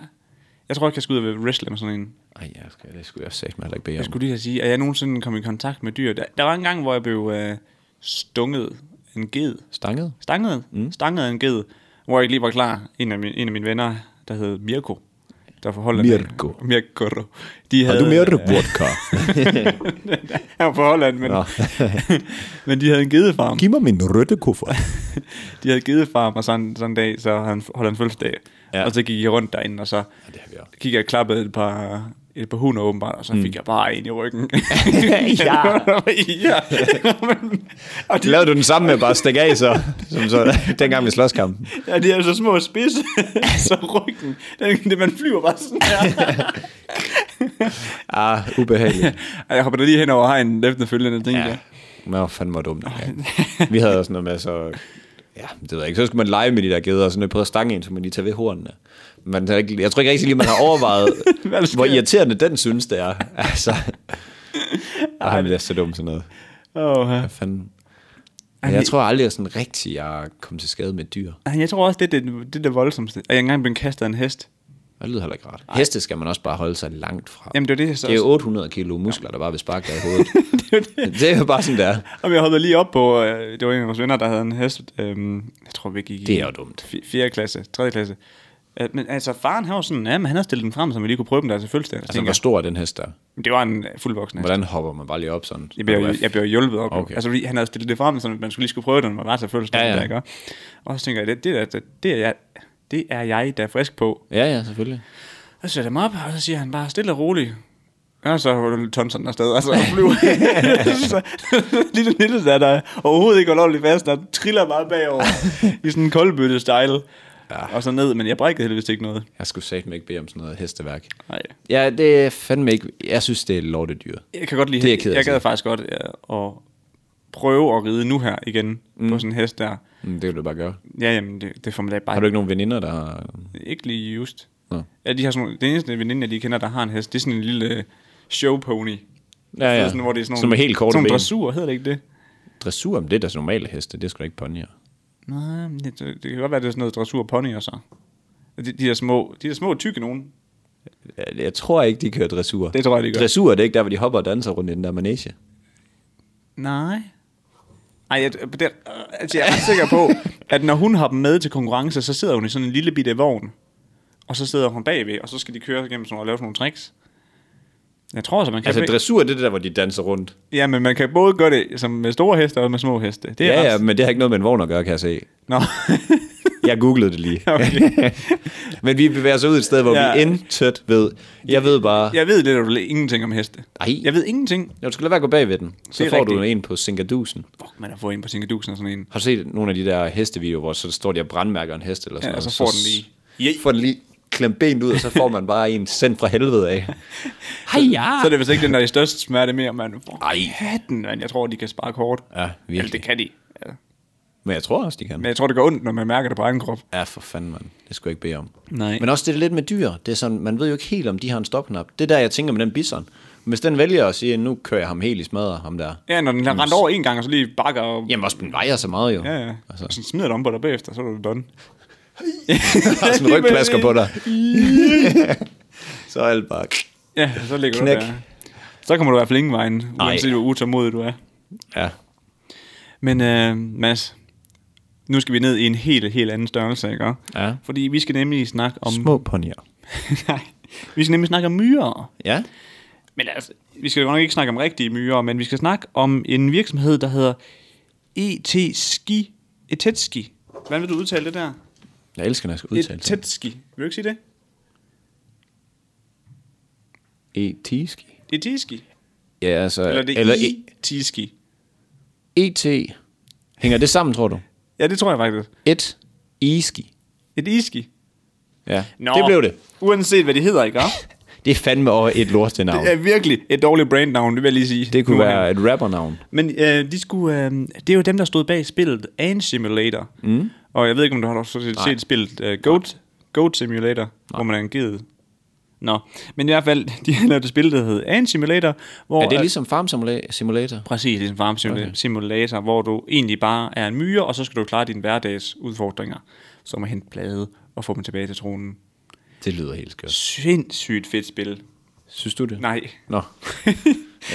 B: Jeg tror ikke, jeg skal ud og være wrestler med sådan en.
A: Ej, jeg skal, det skulle jeg sagt mig heller ikke bede om.
B: Jeg skulle lige at sige, at jeg nogensinde kom i kontakt med dyr. Der, der var en gang, hvor jeg blev øh, stunget af en ged.
A: Stanget?
B: Stanget? Mm. Stanget af en ged, hvor jeg ikke lige var klar. En af, min, en af mine venner, der hed Mirko. Der forholder
A: Mirko.
B: Mirko. De havde,
A: vodka?
B: Han var fra Holland, men,
A: Nå.
B: men de havde en gedefarm.
A: Giv mig min rødte kuffert.
B: De havde gedefarm, og sådan, sådan en dag, så havde han holdt en fødselsdag.
A: Ja.
B: Ja. Og så gik jeg rundt derinde, og så
A: Ja, det har vi også. Mm.
B: gik jeg og klappede et par, et par hunder åbenbart, og så fik jeg bare en i ryggen.
A: Ja.
B: ja. og de,
A: Lavede du den samme med bare at stikke af, så, som så dengang vi slåskampen.
B: ja, de er så små og spidse, så ryggen, den, det, man flyver bare sådan her.
A: Ah, ubehageligt.
B: Og jeg hopper da lige hen over hegnen efterfølgende, tænkte ja. jeg.
A: Man var fandme dumt. Vi havde også noget med, så... Ja, det ved jeg ikke. Så skulle man lege med de der geder, og så når jeg prøvede at stange en, så man lige tage ved hornene. Man, har ikke- jeg tror ikke rigtig lige, man har overvejet,
B: Hvad der sker.
A: hvor irriterende den synes, det er. Altså, og han bliver så dum sådan noget.
B: Åh, ja.
A: Hvad fanden? Men jeg tror aldrig, jeg sådan rigtig jeg er kommet til skade med et dyr.
B: Ej, Jeg tror også, det er det, det, er det voldsomste. At jeg engang blev kastet af en hest.
A: Det lyder heller ikke rart. Heste skal man også bare holde sig langt fra.
B: Jamen, det er det, så
A: det er jo 800 kilo muskler, der bare vil sparke dig i hovedet. det, er det. det er jo bare sådan, der.
B: Jamen, jeg hoppede lige op på, øh, det var en af vores venner, der havde en hest. Øhm, jeg tror, vi gik i...
A: Det er jo dumt.
B: 4. klasse, 3. klasse. Øh, men altså, faren han var sådan, ja, men han havde stillet den frem, så vi lige kunne prøve den der til fødselsdag.
A: Altså, hvor stor er den hest der?
B: det var en øh, fuldvoksen hest.
A: Hvordan hopper man bare lige op sådan?
B: Jeg blev, jeg blev hjulpet op.
A: Okay.
B: Okay. Altså, fordi han havde stillet det frem, så man skulle lige skulle prøve den, når man var til fødselsdag.
A: Ja, ja.
B: Der, ikke? Og så tænker jeg, det, det, er, det, det, er jeg, det er jeg, der er frisk på.
A: Ja, ja, selvfølgelig.
B: Så sætter jeg mig op, og så siger han bare stille og roligt. Ja, så tonser den afsted, og så Altså, flyver så, Lille Nille der, der overhovedet ikke holdt fast, der triller bare bagover i sådan en koldbøtte style. Ja. Og så ned, men jeg brækkede heldigvis ikke noget.
A: Jeg skulle satme ikke bede om sådan noget hesteværk.
B: Nej.
A: Ja, det er fandme ikke... Jeg synes, det er lortedyr.
B: Jeg kan godt lide,
A: Det er jeg ked af at
B: jeg gad
A: sige.
B: faktisk godt ja, at prøve at ride nu her igen mm. på sådan en hest der.
A: Mm, det vil du bare gøre.
B: Ja, jamen, det, det får man da bare
A: Har du ikke nogen veninder, der har...
B: ikke lige just.
A: Nå.
B: Ja, de har sådan, nogle- den eneste veninde, jeg lige kender, der har en hest, det er sådan en lille showpony.
A: Ja,
B: Det
A: ja.
B: er Sådan, hvor det er sådan nogle,
A: Som er helt korte
B: sådan nogle
A: ben.
B: dressur, hedder det ikke det?
A: Dressur, men det er deres normale heste. Det er sgu da ikke ponyer.
B: Nej, men det, det kan godt være, det er sådan noget dressur ponyer så. De, de, der små, de der små tykke nogen.
A: Jeg- Jeg tror ikke, de kører dressur.
B: Det tror jeg, de gør.
A: Dressur det er ikke der, hvor de hopper og danser rundt i den der manege.
B: Nej. Ej, jeg, det, øh, altså, jeg er ret sikker på, at når hun har dem med til konkurrence, så sidder hun i sådan en lille bitte vogn. Og så sidder hun bagved, og så skal de køre igennem sådan, og lave sådan nogle tricks. Jeg tror så man kan...
A: Altså, dressur det er det der, hvor de danser rundt.
B: ja, men man kan både gøre det som med store heste og med små heste. Det er
A: Ja, ja,
B: ret-
A: men det har ikke noget med en vogn at gøre, kan jeg se.
B: Nå.
A: Jeg googlede det lige.
B: Okay.
A: men vi bevæger os ud et sted, hvor ja.
B: Ja.
A: vi intet ved. Jeg ved bare...
B: Jeg ved lidt eller ingenting om heste.
A: Ej.
B: Jeg ved ingenting.
A: Jeg skulle lade være at gå bag ved den. Så
B: Det er
A: får du
B: rigtigt.
A: en på Singadusen.
B: Fuck, man har fået en på Singadusen og sådan en.
A: Har du set nogle af de der hestevideoer, hvor så står de og brandmærker en hest eller sådan
B: Ja, og
A: noget?
B: så får den lige-
A: Yeah. Får den lige klemt benet ud, og så får man bare en sendt fra helvede af. Hej ja!
B: Så er det vist ikke den, der er i størst smerte mere, mand. For
A: Ej.
B: hatten, mand. Jeg tror, de kan sparke hårdt.
A: Ja,
B: Eller det
A: virkelig.
B: kan de. Ja.
A: Men jeg tror også, de kan.
B: Men jeg tror, det gør ondt, når man mærker det på egen krop.
A: Ja, for fanden, man. Det skulle jeg ikke bede om.
B: Nej.
A: Men også det er lidt med dyr. Det er sådan, man ved jo ikke helt, om de har en stopknap. Det er der, jeg tænker med den bison. Hvis den vælger at sige, nu kører jeg ham helt i smadret, ham der.
B: Ja, når den har rendt over en gang, og så lige bakker og...
A: Jamen også, den vejer så meget jo.
B: Ja, ja.
A: Altså.
B: Og så smider det om på dig bagefter, så er du done.
A: Der er sådan en rygplasker på dig. så er alt bare...
B: Ja, så ligger
A: Knæk.
B: du der. Så kommer du i hvert fald ingen vejen,
A: Nej.
B: uanset hvor utålmodig du er.
A: Ja.
B: Men øh, Mads, nu skal vi ned i en helt, helt anden størrelse, ikke?
A: Ja.
B: Fordi vi skal nemlig snakke om...
A: Små ponyer.
B: Nej, vi skal nemlig snakke om myrer.
A: Ja.
B: Men altså, vi skal jo nok ikke snakke om rigtige myrer, men vi skal snakke om en virksomhed, der hedder ET Ski. Etetski. Hvordan vil du udtale det der?
A: Jeg elsker, når jeg skal udtale det.
B: Etetski. Vil du ikke sige det?
A: E Etiski.
B: Etetski.
A: Ja, altså...
B: E Eller det
A: eller
B: Eller
A: e-
B: Etiski.
A: ET. Hænger det sammen, tror du?
B: Ja, det tror jeg faktisk.
A: Et iski.
B: Et iski.
A: Ja, det blev det.
B: Uanset hvad de hedder, ikke? hva'?
A: Det er fandme over et lortenavn.
B: Det er virkelig et dårligt brandnavn, det vil jeg lige sige.
A: Det kunne
B: Nu er
A: være
B: han.
A: et rappernavn.
B: Men øh, de skulle, øh, det er jo dem, der stod bag spillet Ant Simulator. Mm. Og jeg ved ikke, om du har set, set spillet øh, Goat, Goat Simulator, Nej. hvor man er en ged. Nå, men i hvert fald, de har lavet et spil, der hedder Ant Simulator. Hvor,
A: Er det
B: at-
A: ligesom Farm Simula- Simulator?
B: Præcis, ligesom Farm Simula- Simulator, hvor du egentlig bare er en myre, og så skal du klare dine hverdags udfordringer, som at hente blade og få dem tilbage til tronen.
A: Det lyder helt skørt.
B: Sindssygt fedt spil.
A: Synes du det?
B: Nej.
A: Nå. Jeg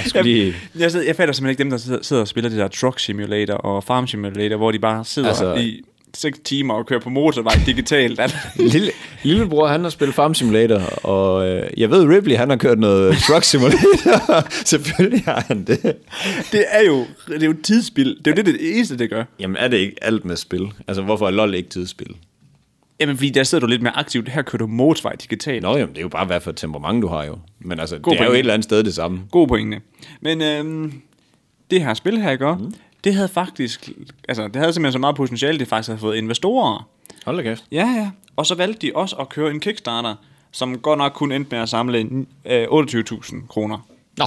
A: skulle lige...
B: Jeg, jeg, sidder, jeg fatter simpelthen ikke dem, der sidder, sidder og spiller det der Truck Simulator og Farm Simulator, hvor de bare sidder
A: Altså-
B: altså, i 6 timer og kører på motorvej digitalt. Altså,
A: Lille, lillebror, han har spillet Farm Simulator, og øh, jeg ved, Ripley, han har kørt noget Truck Simulator. Selvfølgelig har han det.
B: det er jo det er jo tidsspil. Det er jo det, det eneste, det gør.
A: Jamen, er det ikke alt med spil? Altså, hvorfor er LOL ikke tidsspil?
B: Jamen, fordi der sidder du lidt mere aktivt. Her kører du motorvej digitalt.
A: Nå, jamen, det er jo bare, hvad for et temperament du har jo. Men altså, God
B: God
A: det er jo
B: pointe.
A: et eller andet sted det samme.
B: God pointe. Men øhm, det her spil her, ikke? Mm. Det havde faktisk, altså det havde simpelthen så meget potentiale, det faktisk havde fået investorer.
A: Hold da kæft.
B: Ja, ja. Og så valgte de også at køre en Kickstarter, som godt nok kun endte med at samle øh, 28.000 kroner.
A: Nå,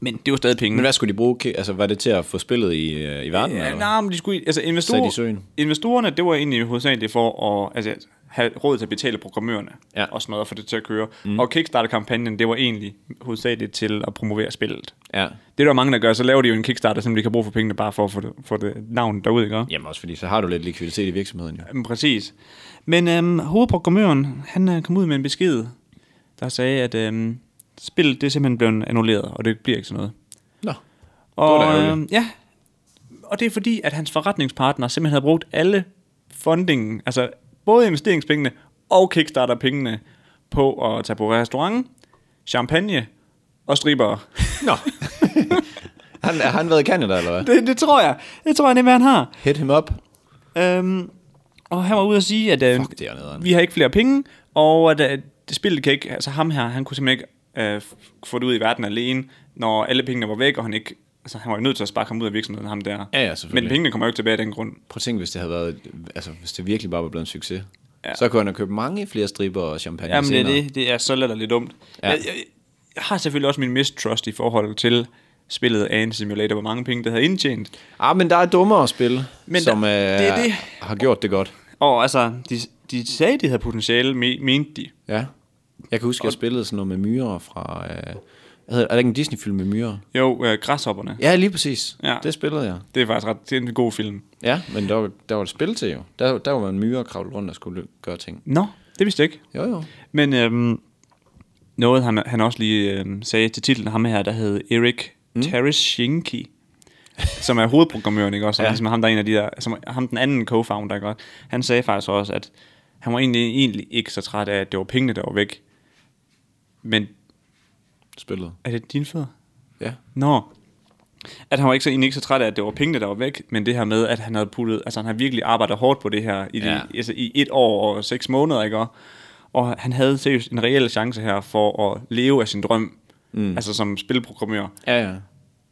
B: Men det var stadig penge.
A: men hvad skulle de bruge? ki- Altså, var det til at få spillet i, øh, i verden?
B: Ja,
A: eller?
B: nej, men de skulle... Altså, investorer,
A: i søen?
B: investorerne, det var egentlig hovedsageligt for at... Altså, have råd til at betale programmørerne
A: Ja.
B: og sådan noget, og få det til at køre. Mm. Og Kickstarter-kampagnen, det var egentlig hovedsageligt til at promovere spillet.
A: Ja.
B: Det er der mange, der gør, så laver de jo en Kickstarter, som de kan bruge for pengene, bare for at få det, få det navn derud, ikke? også?
A: Jamen også fordi, så har du lidt likviditet i virksomheden jo.
B: Jamen, præcis. Men øhm, hovedprogrammøren, han øh, kom ud med en besked, der sagde, at øhm, spillet det er simpelthen blevet annulleret, og det bliver ikke sådan noget.
A: Nå. var da
B: Og,
A: ærgerligt.
B: øh, ja. og det er fordi, at hans forretningspartner simpelthen havde brugt alle fundingen, altså både investeringspengene og Kickstarter-pengene, på at tage på restaurant, champagne og stribere.
A: Nå. han, har han været i Canada, eller hvad?
B: Det, det tror jeg. Det tror jeg nemlig, han har.
A: Hit him up.
B: Øhm, og han var ude og sige, at øh,
A: Fuck, det er nederen.
B: vi har ikke flere penge, og at øh, det spillet kan ikke, altså ham her, han kunne simpelthen ikke øh, f- få det ud i verden alene, når alle pengene var væk, og han ikke, altså han var jo nødt til at sparke ham ud af virksomheden, ham der.
A: Ja, ja,
B: Men
A: selvfølgelig.
B: pengene kommer jo ikke tilbage af den grund.
A: Prøv at tænke, hvis det havde været, et- altså hvis det virkelig bare var blevet en succes.
B: Ja.
A: Ja. Så kunne han have købt mange flere striber og champagne
B: Jamen det er
A: senere.
B: det, det er så lidt dumt. Ja.
A: Ja.
B: Jeg, jeg, jeg har selvfølgelig også min mistrust i forhold til spillet af en simulator, hvor mange penge det havde indtjent.
A: Ah, men der er dummere spil,
B: Men
A: men som
B: der-
A: der, øh,
B: det er det.
A: har gjort det godt.
B: Og altså, de, de sagde, de havde potentiale, me, mente de.
A: Ja. Jeg kan huske, jeg spillede sådan noget med myrer fra... Øh, hvad hedder, er der ikke en Disney-film med myrer?
B: Jo, øh, Græshopperne.
A: Ja, lige præcis.
B: Ja.
A: Ja. Det spillede jeg.
B: Det er faktisk ret, det er en god film.
A: Ja, men der, var- der var et spil til jo. Der, der var man myrer og kravle rundt og skulle lø- gøre ting.
B: Nå, det vidste jeg ikke.
A: Jo, jo.
B: Men øhm, noget, han, han også lige øhm, sagde til titlen, ham her, der hed Erik mm. Tereshinki, som er hovedprogrammøren, ikke også? Ja. Ligesom ham, der er en af de der, som, ham den anden co-founder, ikke også? Han sagde faktisk også, at han var egentlig, egentlig ikke så træt af, at det var pengene, der var væk. Men
A: Spillet.
B: er det din fødder?
A: Ja.
B: Nå. At han var ikke så, egentlig ikke så træt af, at det var pengene, der var væk, men det her med, at han havde puttet, altså han har virkelig arbejdet hårdt på det her i, ja.
A: Ja.
B: altså, i et år og seks måneder, ikke? Og- Og han havde seriøst en reel chance her for at leve af sin drøm, mm. altså som spilprogrammør.
A: Ja, ja.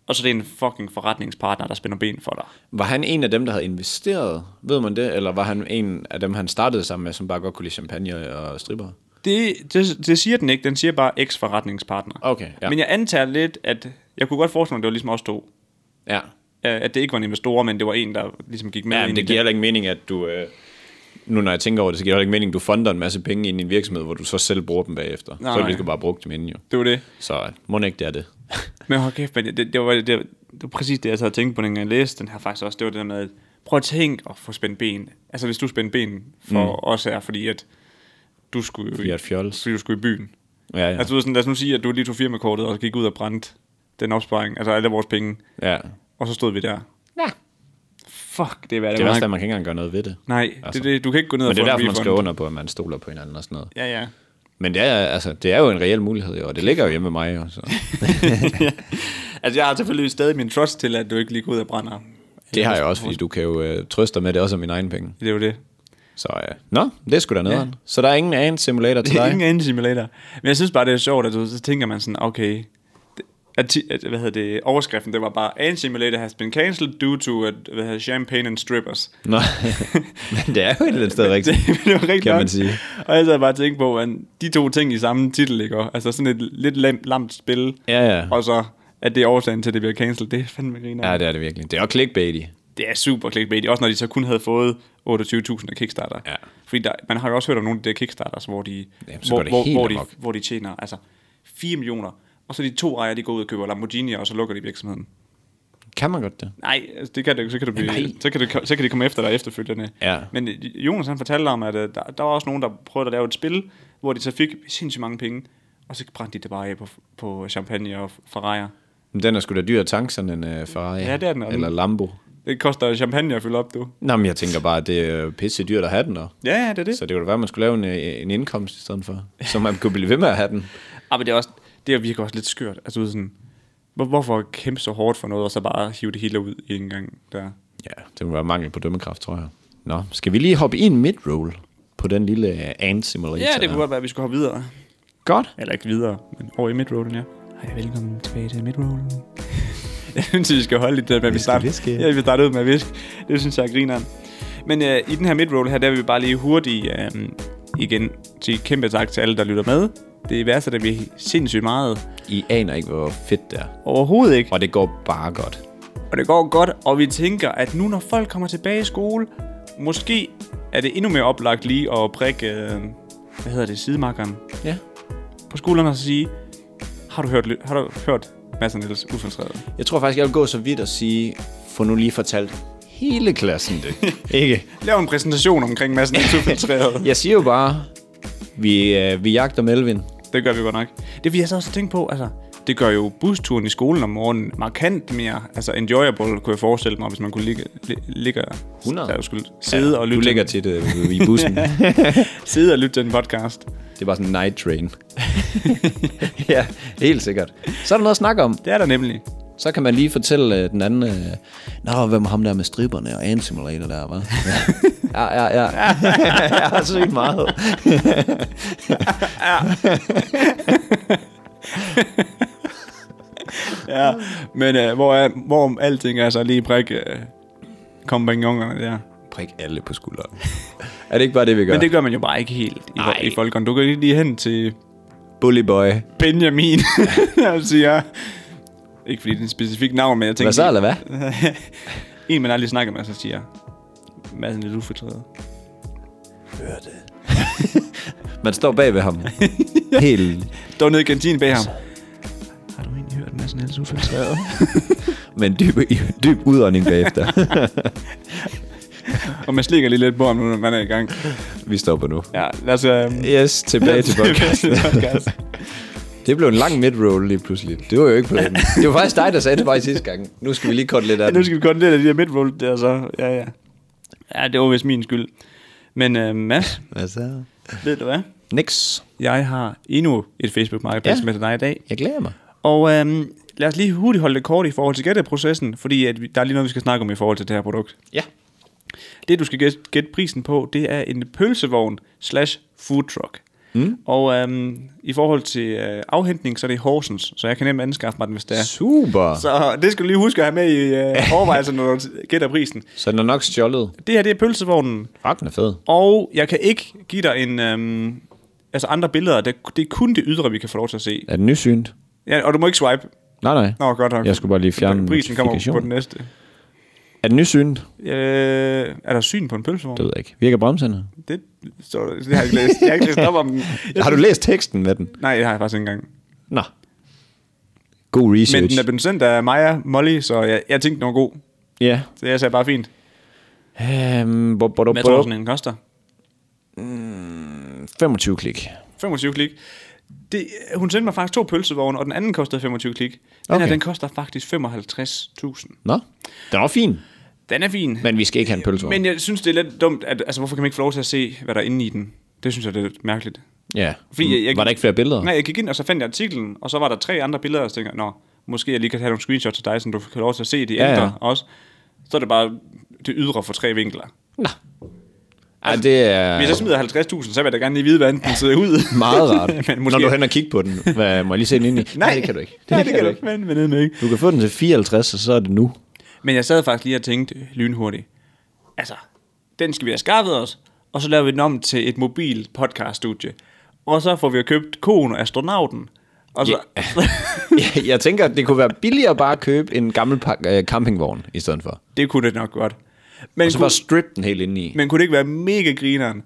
B: Og så er det en fucking forretningspartner, der spænder ben for dig.
A: Var han en af dem, der havde investeret? Ved man det? Eller var han en af dem, han startede sammen med, som bare godt kunne lide champagne og stripper?
B: Det, det, det siger den ikke, den siger bare eks-forretningspartner.
A: Okay,
B: ja.
A: ja.
B: Men jeg antager lidt, at jeg kunne godt forestille mig, at det var ligesom os to.
A: Ja.
B: Øh, At det ikke var en investor, men det var en, der ligesom gik med
A: ja men
B: ind i
A: det giver heller ikke mening, at du... Øh, nu når jeg tænker over det, så giver det heller ikke mening, at du funder en masse penge ind i en virksomhed, hvor du så selv bruger dem bagefter. Nej, så
B: nej.
A: vil du bare bruge dem inden jo.
B: det var det.
A: Så øh, må ikke, det er det.
B: Men hold kæft, men det, det, var, det, det var præcis det, jeg sad og tænkte på, dengang jeg læste den her faktisk også. Det var det der med, at prøv at tænke at få spændt ben. Altså hvis du spændte ben for mm. os her, fordi at du skulle, jo i-
A: Fordi at fjols.
B: fordi du skulle i byen.
A: ja, ja.
B: Altså du ved sådan, lad os nu sige, at du lige tog firmakortet og gik ud og brændte den opsparing, altså alle vores penge,
A: ja.
B: og så stod vi der.
A: ja.
B: Fuck, det var det,
A: Det er
B: meget-
A: også, at man kan ikke engang gøre noget ved det.
B: Nej, altså.
A: Altså.
B: det, det, du kan ikke gå ned og
A: Men det
B: få
A: er
B: en
A: derfor, man
B: refund.
A: skal under på, at man stoler på hinanden og sådan noget.
B: Ja, ja.
A: Men det er, altså, det er jo en reel mulighed, jo, og det ligger jo hjemme med mig. Jo, så.
B: Altså jeg har selvfølgelig stadig min trust til, at du ikke lige går ud og brænder.
A: Det har jeg også, fordi du kan jo øh, trøste dig med, at det også er mine egne penge.
B: Det er jo det.
A: Så øh, nå, det er sgu da nederen. Ja. Så der er ingen anden simulator til
B: Det er ingen
A: dig?
B: anden simulator. Men jeg synes bare, det er sjovt, at du, så tænker man sådan, okay, det- at, ti- at, hvad hedder det, overskriften, det var bare, An Simulator has been cancelled due to at, hvad hedder, champagne and strippers.
A: Nå, men det er jo et eller andet sted
B: Det,
A: rigtigt.
B: det var rigtig
A: Kan
B: nok.
A: man sige.
B: Og jeg sad bare og tænkte på, at de to ting i samme titel, ikke? Og Altså sådan et lidt lam, lamt spil,
A: Ja, ja.
B: og så at det er årsagen til, at det bliver cancelled, det er fandme griner.
A: Ja, det er det virkelig. Det er jo clickbaity.
B: Det er super clickbait, også når de så kun havde fået 28.000 af Kickstarter.
A: Ja.
B: Fordi der, man har jo også hørt om nogle af de der Kickstarters, hvor de,
A: Jamen, så
B: hvor,
A: går det
B: hvor,
A: helt
B: hvor, de,
A: amok.
B: hvor de tjener altså 4 millioner, og så de to ejere, de går ud og køber Lamborghini, og så lukker de virksomheden.
A: Kan man godt det?
B: Nej, altså, det kan det, jo ikke. så kan, det blive,
A: Nej.
B: så, kan det, så kan de komme efter dig efterfølgende.
A: Ja.
B: Men øh, Jonas han fortalte om, at øh, der, der var også nogen, der prøvede at lave et spil, hvor de så fik sindssygt mange penge, og så brændte de det bare af på, på champagne og Ferrari.
A: Men den er sgu da dyr at tanke sådan en uh, Ferrari.
B: Ja, det er den, og den-
A: Eller Lambo.
B: Det koster champagne at fylde op, du.
A: Nå, men jeg tænker bare, at det er pisse dyrt at have den. Og.
B: Ja, ja, det er det.
A: Så det kunne da være, at man skulle lave en, øh, en indkomst i stedet for. Så man kunne blive ved med at have den.
B: Ah, men det, er også, det virker også lidt skørt. Altså, du ved sådan, hvor, hvorfor kæmpe så hårdt for noget, og så bare hive det hele ud i en gang der?
A: Ja, det må være mangel på dømmekraft, tror jeg. Nå, skal vi lige hoppe i en mid-roll på den lille øh, ant simulator?
B: Ja, det
A: her?
B: kunne godt være, at vi skulle hoppe videre.
A: Godt.
B: Eller ikke videre, men over i midrollen, ja. Hej, velkommen tilbage til midrollen. jeg synes, vi skal holde lidt det med, at vi
A: Vi skal
B: starter,
A: hviske.
B: ja, vi starter ud med at viske. Det synes jeg er grineren. Men øh, i den her midroll her, der vil vi bare lige hurtigt øh, igen sige kæmpe tak til alle, der lytter med. Det værdsætter vi sindssygt meget.
A: I aner ikke, hvor fedt det er.
B: Overhovedet ikke.
A: Og det går bare godt.
B: og det går godt, og vi tænker, at nu når folk kommer tilbage i skole, måske er det endnu mere oplagt lige at prikke, øh, hvad hedder det, sidemarkeren
A: Ja.
B: på skolerne og så sige, har du hørt, ly- har du hørt Mads og Niels ufiltreret?
A: Jeg tror faktisk, jeg vil gå så vidt og sige, få nu lige fortalt hele klassen det. Ikke?
B: Lav en præsentation omkring Mads og Niels ufiltreret.
A: Jeg siger jo bare, vi, øh, vi jagter Melvin.
B: Det gør vi godt nok. Det vil jeg så også tænke på, altså, det gør jo busturen i skolen om morgenen markant mere altså enjoyable, kunne jeg forestille mig, hvis man kunne ligge, li, ligge
A: 100.
B: Jeg skulle sidde, ja, og
A: Du
B: lytte
A: ligger
B: til,
A: tit øh, i bussen.
B: sidde og lytte til en podcast.
A: Det er bare sådan en night train. ja, helt sikkert. Så er der noget at snakke om.
B: Det er der nemlig.
A: Så kan man lige fortælle øh, den anden, øh, Nå, hvem er ham der med striberne og Ant Simulator der, hva'? ja, ja, ja. jeg har sygt meget.
B: Ja, men øh, hvor, er, hvor alting er så lige prik øh, kompagnonerne der.
A: Prik alle på skulderen. er det ikke bare det, vi gør?
B: Men det gør man jo bare ikke helt i,
A: Nej.
B: i folkeren. Du kan ikke lige hen til
A: Bully boy.
B: Benjamin og siger, ikke fordi det er en specifik navn, men jeg tænker...
A: Hvad så, eller hvad?
B: en, man aldrig snakker med, så siger, Mads er lidt ufortrædet.
A: Hør det. man står bag ved ham. Helt.
B: Står nede i kantinen bag ham. Har du egentlig hørt Mads Niels ufiltreret?
A: Men dyb, dyb udånding bagefter.
B: og man slikker lige lidt på ham nu, når man er i gang.
A: vi stopper nu.
B: Ja, lad os... øhm,
A: Yes,
B: lad
A: tilbage til
B: os tilbage til
A: podcasten.
B: podcast.
A: Det blev en lang midroll lige pludselig. Det var jo ikke planen. Det var faktisk dig, der sagde det bare i sidste gang. Nu skal vi lige korte lidt af
B: Ja, nu
A: det.
B: skal vi godt lidt af de her midroll der, så... Ja, ja. Ja, det var vist min skyld. Men øh, Mads,
A: Hvad så?
B: ved du hvad?
A: Nix.
B: Jeg har endnu et Facebook-marketplads
A: Ja.
B: ja. med til dig i dag.
A: Jeg glæder mig.
B: Og øh, lad os lige hurtigt holde det kort i forhold til gætteprocessen, fordi at vi, der er lige noget, vi skal snakke om i forhold til det her produkt.
A: Ja.
B: Det, du skal gæt- gætte prisen på, det er en pølsevogn slash food truck. Mm. Og øhm, i forhold til øh, afhentning, så er det i Horsens, så jeg kan nemt anskaffe mig den, hvis det er.
A: Super. Så,
B: Så det skal du lige huske at have med i øh, overvejelsen, når du t- gætter prisen.
A: så den er nok stjålet.
B: Det her, det er pølsevognen,
A: Fuck, den er fed.
B: og jeg kan ikke give dig en... Øhm, altså andre billeder, det, det er kun det ydre, vi kan få lov til at se.
A: Er den nysynt?
B: Ja, og du må ikke swipe.
A: Nej, nej.
B: Nå, godt nok.
A: Jeg skulle bare lige fjerne
B: Prisen kommer på
A: notifikationen.
B: den næste.
A: Er den nysynt?
B: Øh, er der syn på en pølsevogn?
A: Det ved jeg ikke. Virker bremserne?
B: Det, står der- det har jeg ikke læst. Jeg har ikke læst op om den. Jeg
A: Har du læst teksten med den?
B: Nej, det har jeg faktisk ikke engang.
A: Nå. God research.
B: Men den er blevet sendt af Maja Molly, så jeg, jeg tænkte, den var god.
A: Ja.
B: Så jeg sagde bare fint.
A: Øhm, bo, bo, bo,
B: Hvad tror du,
A: bo,
B: sådan en koster?
A: 25 klik.
B: 25 klik. Det, hun sendte mig faktisk to pølsevogne, og den anden kostede 25 klik. Den okay.
A: Okay.
B: her, den koster faktisk 55.000.
A: Nå. Den var fin.
B: Den er fin.
A: Men vi skal ikke have en pølsevogn.
B: Men jeg synes, det er lidt dumt, at altså, hvorfor kan man ikke få lov til at se, hvad der er inde i den? Det synes jeg, det er lidt mærkeligt.
A: Ja.
B: Fordi jeg, jeg,
A: Var der ikke flere billeder?
B: Nej, jeg gik ind, og så fandt jeg artiklen, og så var der tre andre billeder, og så tænkte jeg, nå, måske jeg lige kan have nogle screenshots til dig, så du kan lov til at se de
A: Ja,
B: ja,
A: ja.
B: ændre ja. også. Så er det bare det ydre for tre vinkler.
A: Nå. Ej, det er...
B: Hvis jeg smider 50.000, så vil jeg da gerne lige vide, hvordan den ser ud.
A: Meget rart.
B: men
A: Når
B: måske...
A: du er hen og kigge på den, hvad, må jeg lige se den ind i? Nej, det kan du ikke.
B: Det Nej, det kan du ikke. Men, men, ikke.
A: Du kan få den til 54, og så er det nu.
B: men jeg sad faktisk lige og tænkte øh, lynhurtigt. Altså, den skal vi have skaffet os, og så laver vi den om til et mobil podcaststudie. Og så får vi jo købt koen og astronauten. Og så...
A: Jeg, jeg tænker, at det kunne være billigere bare at købe en gammel pak- øh, campingvogn i stedet for.
B: det kunne det nok godt. Men,
A: Og så
B: kunne,
A: bare strip den helt ind i.
B: men kunne det ikke være mega grineren,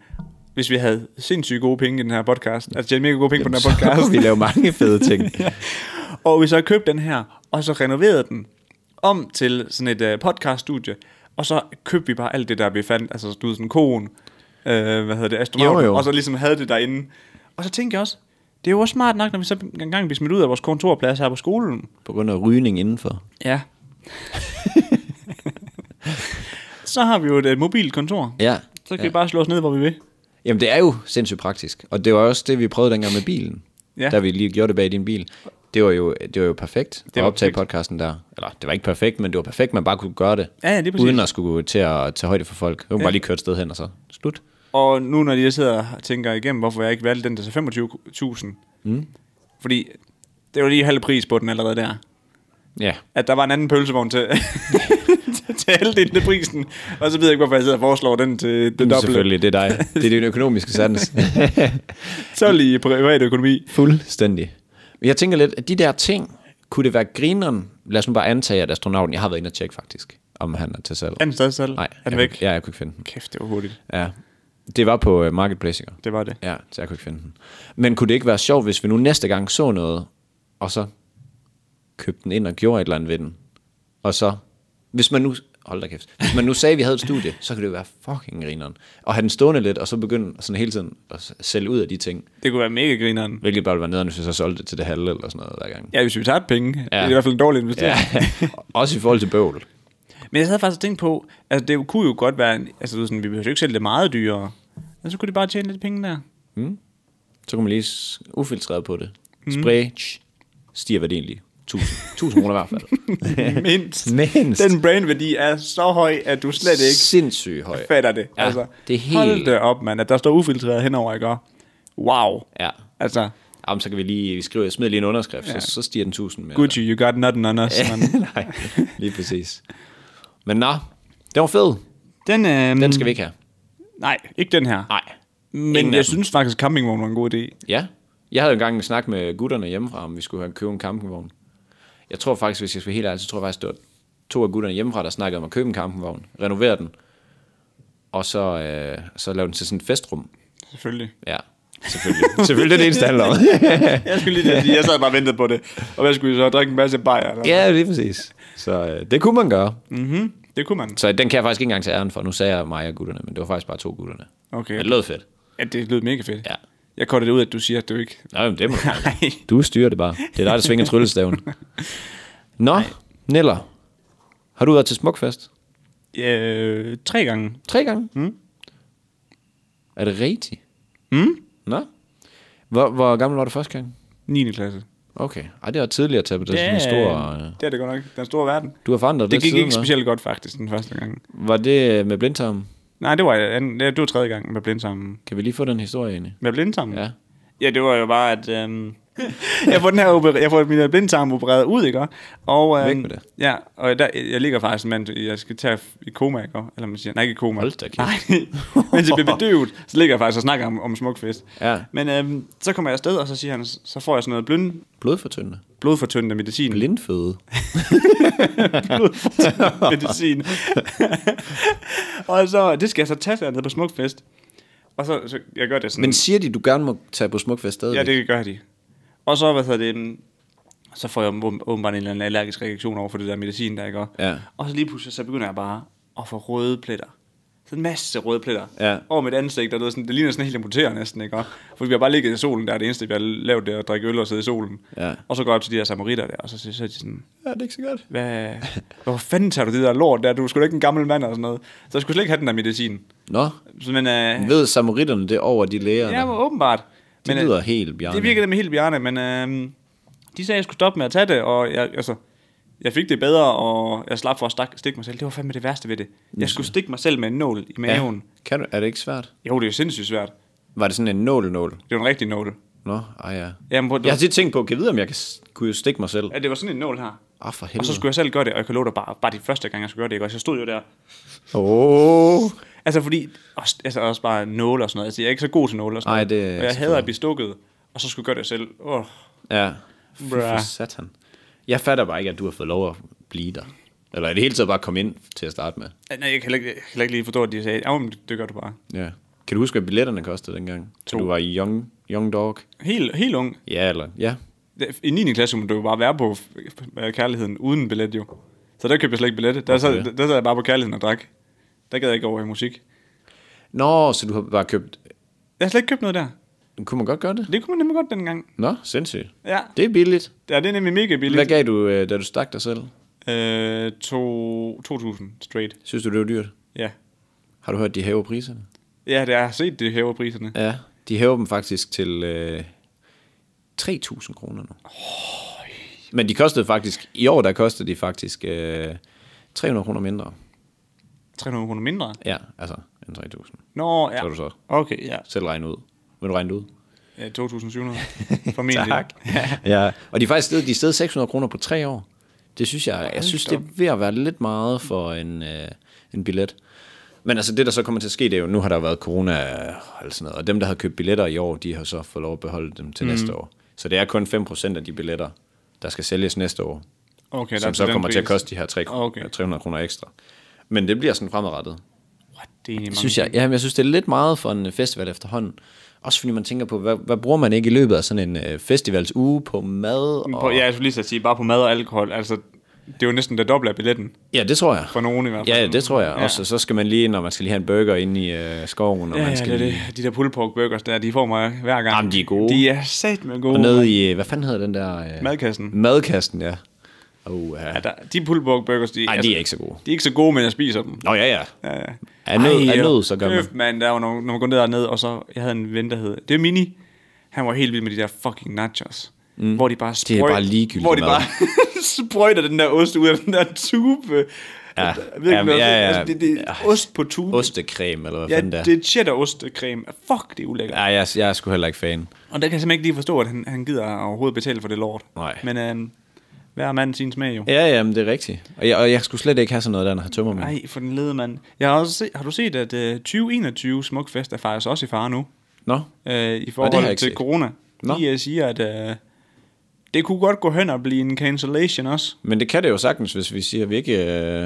B: hvis vi havde sindssygt gode penge i den her podcast? Altså, tjene mega gode penge på den her
A: Så
B: podcast.
A: kunne vi lave mange fede ting.
B: Og vi så købte den her, og så renoverede den om til sådan et øh, podcaststudie. Og så købte vi bare alt det der, vi fandt. Altså, du ved, sådan koen, øh, hvad hedder det, astronauten,
A: Jo, jo.
B: og så ligesom havde det derinde. Og så tænkte jeg også, det er jo også smart nok, når vi så engang bliver smidt ud af vores kontorplads her på skolen.
A: På grund af rygning indenfor.
B: Ja. så har vi jo et, et mobilt kontor.
A: Ja.
B: Så kan ja. vi bare slå os ned, hvor vi vil.
A: Jamen, det er jo sindssygt praktisk. Og det var også det, vi prøvede dengang med bilen. Ja.
B: Ja.
A: Da vi lige gjorde det bag din bil. Det var jo, det var jo perfekt det at
B: var
A: optage
B: perfekt.
A: podcasten der. Eller, det var ikke perfekt, men det var perfekt, man bare kunne gøre det.
B: Ja, ja, lige præcis.
A: uden at skulle til at tage højde for folk. Du kan ja. bare lige køre et sted hen, og så slut.
B: Og nu når jeg sidder og tænker igennem, hvorfor jeg ikke valgte den der til 25.000. Mm. Fordi det var lige halv pris på den allerede der.
A: Ja,
B: At der var en anden pølsevogn til, til- til halvdelen af prisen. Og så ved jeg ikke, hvorfor jeg sidder og foreslår den til det
A: det
B: dobbelte.
A: selvfølgelig, det er dig. Det er din økonomiske sans.
B: Så lige privat økonomi.
A: Fuldstændig. Men Jeg tænker lidt, at de der ting, kunne det være grineren? Lad os nu bare antage, at astronauten, jeg har været inde og tjekke faktisk, om han er til salg.
B: Anden stadig selv.
A: Nej,
B: er den
A: jeg,
B: væk?
A: kunne- Ja, jeg kunne ikke finde den.
B: Kæft, det var hurtigt.
A: Ja. Det var på øh, Marketplace, ikke?
B: Det var det.
A: Ja, så jeg kunne ikke finde den. Men kunne det ikke være sjovt, hvis vi nu næste gang så noget, og så købte den ind og gjorde et eller andet ved den? Og så, hvis man nu, hold da kæft, hvis man nu sagde, at vi havde et studie, så kunne det jo være fucking grineren. Og have den stående lidt, og så begynde sådan hele tiden at s- sælge ud af de ting,
B: Det kunne være mega grineren.
A: hvilket bare ville være nederen, hvis jeg så solgte det til det halve eller sådan noget hver gang.
B: Ja, hvis vi tager penge. Ja. Det er
A: Ja.
B: i hvert fald en dårlig investering.
A: Ja, også i forhold til bøvl.
B: Men jeg havde faktisk tænkt på, altså det kunne jo godt være, en- altså du ved sådan, vi behøver jo ikke sælge det meget dyrere. Men så kunne de bare tjene lidt penge der.
A: Så kunne man lige s- ufiltreret på det.
B: Mm.
A: Spray, tsch, stiger værdien lige. 1000, 1000 kroner i hvert fald.
B: Mindst.
A: Mindst.
B: Den brandværdi er så høj, at du slet ikke
A: Sindssygt høj.
B: fatter det.
A: Ja,
B: altså,
A: det er helt-
B: Hold det op, mand. At der står ufiltreret henover, ikke? Og Wow.
A: Ja.
B: Altså,
A: Jamen, så kan vi lige vi skriver, smid lige en underskrift, ja. så, så stiger den 1000 mere.
B: Gucci, you got nothing on us. Man.
A: Nej, lige præcis. Men nå, den var fed.
B: Den, øhm,
A: Den skal vi ikke have.
B: Nej, ikke den her.
A: Nej.
B: Men
A: ingen af
B: jeg
A: dem.
B: synes faktisk, at campingvogn var en god idé.
A: Ja. Jeg havde engang en snak med gutterne hjemmefra, om vi skulle have købe en campingvogn. Jeg tror faktisk, hvis jeg skal være helt ærlig, så tror jeg faktisk, det var to af gutterne hjemmefra, der snakkede om at købe en campingvogn, renovere den, og så, øh, så lave den til sådan et festrum.
B: Selvfølgelig.
A: Ja, selvfølgelig. selvfølgelig det er det eneste, det handler om.
B: Jeg skulle lige til at sige, jeg sad bare og ventede på det. Og hvad skulle vi så? Drikke en masse bajer? Eller?
A: ja, lige præcis. Så øh, det kunne man gøre.
B: Mm-hmm. Det kunne man.
A: Så den kan jeg faktisk ikke engang tage æren for. Nu sagde jeg mig og gutterne, men det var faktisk bare to gutterne.
B: Okay.
A: Men det lød fedt.
B: Ja, det lød mega fedt.
A: Ja.
B: Jeg kortede det ud, at du siger, at du ikke...
A: Nå, jamen, det må du gerne.
B: Nej.
A: Du styrer det bare. Det er dig, der svinger tryllestaven. Nå, Neller. Har du været til Smukfest?
B: Øh, tre gange.
A: Tre gange? Mm. Er det rigtigt?
B: Mm?
A: Nå. Hvor, hvor gammel var du første gang?
B: 9. klasse.
A: Okay. Ej, det var tidligere til, det er sådan en stor... øh,
B: Det er det godt nok. Den store verden.
A: Du har forandret
B: Det
A: lidt
B: gik
A: siden,
B: ikke
A: hva'?
B: specielt godt, faktisk, den første gang.
A: Var det med blindtarmen?
B: Nej, det var, anden, ja, det var tredje gang med blindsammen.
A: Kan vi lige få den historie egentlig?
B: Med blindsammen?
A: Ja.
B: Ja, det var jo bare, at... Øhm, jeg får den her operer, jeg får min øh, blindtarm opereret ud, ikke? Og, øhm,
A: Væk med det.
B: Ja, og der, jeg ligger faktisk, mand, jeg skal tage i koma, ikke? Eller man siger, nej, ikke i koma.
A: Hold da kæft.
B: Nej, mens jeg bliver bedøvet, så ligger jeg faktisk og snakker om, om smukfest.
A: Ja.
B: Men øhm, så kommer jeg afsted, og så siger han, så får jeg sådan noget blind,
A: Blodfortyndende.
B: blodfortyndende medicin.
A: Blindføde.
B: blodfortyndende medicin. og så, det skal jeg så tage dernede på smukfest. Og så, så jeg gør det sådan.
A: Men siger de, du gerne må tage på Smukfest stadigvæk?
B: Ja, det gør de. Og så, hvad hedder det, mm, så får jeg åben- åbenbart en eller anden allergisk reaktion over for det der medicin, der ikke
A: Ja.
B: Og så lige pludselig, så begynder jeg bare at få røde pletter. Så en masse røde pletter
A: Ja.
B: over mit ansigt, og det, sådan, det ligner sådan helt amputere næsten, ikke? Fordi vi har bare ligget i solen der, er det eneste, vi har lavet, det er at drikke øl og sidde i solen.
A: Ja.
B: Og så går jeg op til de der samaritter der, og så siger så er de sådan,
A: Ja, det er ikke så godt.
B: hvad, hvorfor fanden tager du det der lort der? Du er sgu da ikke en gammel mand og sådan noget. Så jeg skulle slet ikke have den der medicin.
A: Nå,
B: Så, men, øh,
A: ved samaritterne det over de læger?
B: Ja, åbenbart.
A: Det
B: øh,
A: lyder helt Bjarne.
B: Det virker nemlig helt bjerne, men øh, de sagde, at jeg skulle stoppe med at tage det, og jeg, altså, jeg fik det bedre, og jeg slap for at stak, stikke mig selv. Det var fandme det værste ved det. Jeg skulle stikke mig selv med en nål i maven. Ja.
A: Kan du, er det ikke svært?
B: Jo, det er sindssygt svært.
A: Var det sådan en nål-nål?
B: Det var en rigtig nål.
A: Nå, ej ja.
B: Jamen, prøv, det,
A: Jeg
B: var,
A: har tit tænkt på, kan jeg vide, om jeg kan, s- kunne jo stikke mig selv?
B: ja, det var sådan en nål her.
A: Ah, for
B: Og
A: helvede.
B: så skulle jeg selv gøre det, og jeg kan love dig bare, bare de første gang, jeg skulle gøre det, ikke? Og jeg stod jo der.
A: Åh, oh,
B: Altså fordi, også, altså også bare nåle og sådan noget. Altså, jeg er ikke så god til nåle og sådan
A: Nej,
B: noget.
A: det er
B: og
A: ikke
B: jeg
A: så
B: hader at blive stukket, og så skulle jeg gøre det selv. Åh,
A: ja. Fy
B: Bruh.
A: for satan. Jeg fatter bare ikke, at du har fået lov at blive der. Eller i det hele taget bare komme ind til at starte med.
B: Nej, jeg kan heller ikke, jeg kan heller ikke lige forstå, at de sagde, ja, men det gør du bare.
A: Ja. Kan du huske, hvad billetterne kostede dengang? To. Du var i young, young Dog?
B: Helt, helt ung.
A: Ja, eller... Ja.
B: I 9. klasse må du jo bare være på f- f- kærligheden uden billet jo. Så der købte jeg slet ikke billet. Der, sad, der sad jeg bare på kærligheden og drak. Der gad jeg ikke over i musik.
A: Nå, så du har bare købt...
B: Jeg har slet ikke købt noget der.
A: Kunne man godt gøre det?
B: Det kunne man nemlig godt dengang.
A: Nå, sindssygt.
B: Ja,
A: Det er billigt.
B: ja det er nemlig mega
A: Hvad
B: billigt.
A: gav du, øh, da du stak dig selv?
B: Øh, to, 2.000 straight.
A: Synes du, det var dyrt?
B: Ja.
A: Har du hørt, de hæver priserne?
B: Ja, det, jeg har set det hæver priserne.
A: Ja, de hæver dem faktisk til øh, 3.000 kroner nu. Men de kostede faktisk, i år der kostede de faktisk øh, 300 kroner mindre.
B: 300 kroner mindre.
A: Ja, altså end 3.000.
B: Nå, ja.
A: Så er du så.
B: Okay, ja.
A: Selv regne ud. Vil du regne det ud?
B: ja 2.700. Formentlig.
A: ja. Og de er faktisk stedet, de er stedet 600 kroner på tre år. Det synes jeg, jeg synes, det er ved at være lidt meget for en, øh, en billet. Men altså det, der så kommer til at ske, det er jo, nu har der jo været corona og sådan noget, og dem, der har købt billetter i år, de har så fået lov at beholde dem
B: Mhm.
A: til mm. næste år. Så det er kun 5% af de billetter, der skal sælges næste år,
B: Okay, der er
A: som så
B: den
A: kommer til at
B: pris.
A: koste de her 3,
B: Okay.
A: okay. 300 kroner ekstra. Men det bliver sådan fremadrettet.
B: What Det er egentlig
A: Det
B: mange
A: synes jeg, ja, jeg synes, det er lidt meget for en øh, festival efterhånden. Også fordi man tænker på, hvad, hvad bruger man ikke i løbet af sådan en øh, festivals uge på mad?
B: ting. På,
A: Og,
B: ja, jeg skulle lige så sige, bare på mad og alkohol. Altså, det er jo næsten det doble af billetten.
A: ja, det tror jeg.
B: For nogen i hvert fald.
A: Ja, det tror jeg.
B: Ja.
A: Ja. Også, så skal man lige, når man skal lige have en burger inde i øh, skoven, og
B: Ja,
A: man
B: det
A: skal
B: er
A: lige...
B: det. De der pulled pork burgers der, de får mig hver gang.
A: Jamen, de er gode.
B: De er sat med gode.
A: Og nede i, øh, hvad fanden hedder den der... Øh,
B: Madkassen.
A: Madkassen, ja. Oh, ja.
B: Ja, der, de pulled pork burgers, de, altså,
A: Ej, de er ikke så gode.
B: De er ikke så gode, men jeg spiser dem.
A: Nå, ja, ja.
B: Ja, ja.
A: Er nød, er nød, så gør man.
B: køb, man. der var nogle, når man går ned dernede, og så, jeg havde en ven, der hed, det er Mini, han var helt vild med de der fucking nachos. Mm. Hvor de bare
A: Det er
B: sprøjter,
A: bare ligegyldigt
B: hvor de
A: mad.
B: bare sprøjter den der ost ud af den der tube.
A: Ja.
B: Jeg ved ikke,
A: Jamen,
B: hvad-
A: ja, ja.
B: Altså, det, det er ost på tube.
A: Ostecreme, eller hvad
B: Ja,
A: fanden det er.
B: det er cheddarostecreme. Fuck, det er ulækkert.
A: Ja, jeg, jeg er sgu heller ikke fan.
B: Og der kan jeg simpelthen ikke lige forstå, at han, han gider overhovedet betale for det lort.
A: Nej.
B: Men øhm, hver mand sin smag jo.
A: Ja, ja, men det er rigtigt. Og jeg, og jeg skulle slet ikke have sådan noget der, når jeg tømmer mig.
B: Nej, for den lede mand. Jeg har, også set, har du set, at øh, 2021 Smukfest er faktisk også i fare nu?
A: Nå?
B: Øh,
A: det har
B: I
A: jeg
B: forhold
A: ikke
B: til
A: set.
B: corona.
A: Nå.
B: De øh, siger, at øh, det kunne godt gå hen og blive en cancellation også.
A: Men det kan det jo sagtens, hvis vi siger, at vi ikke, øh,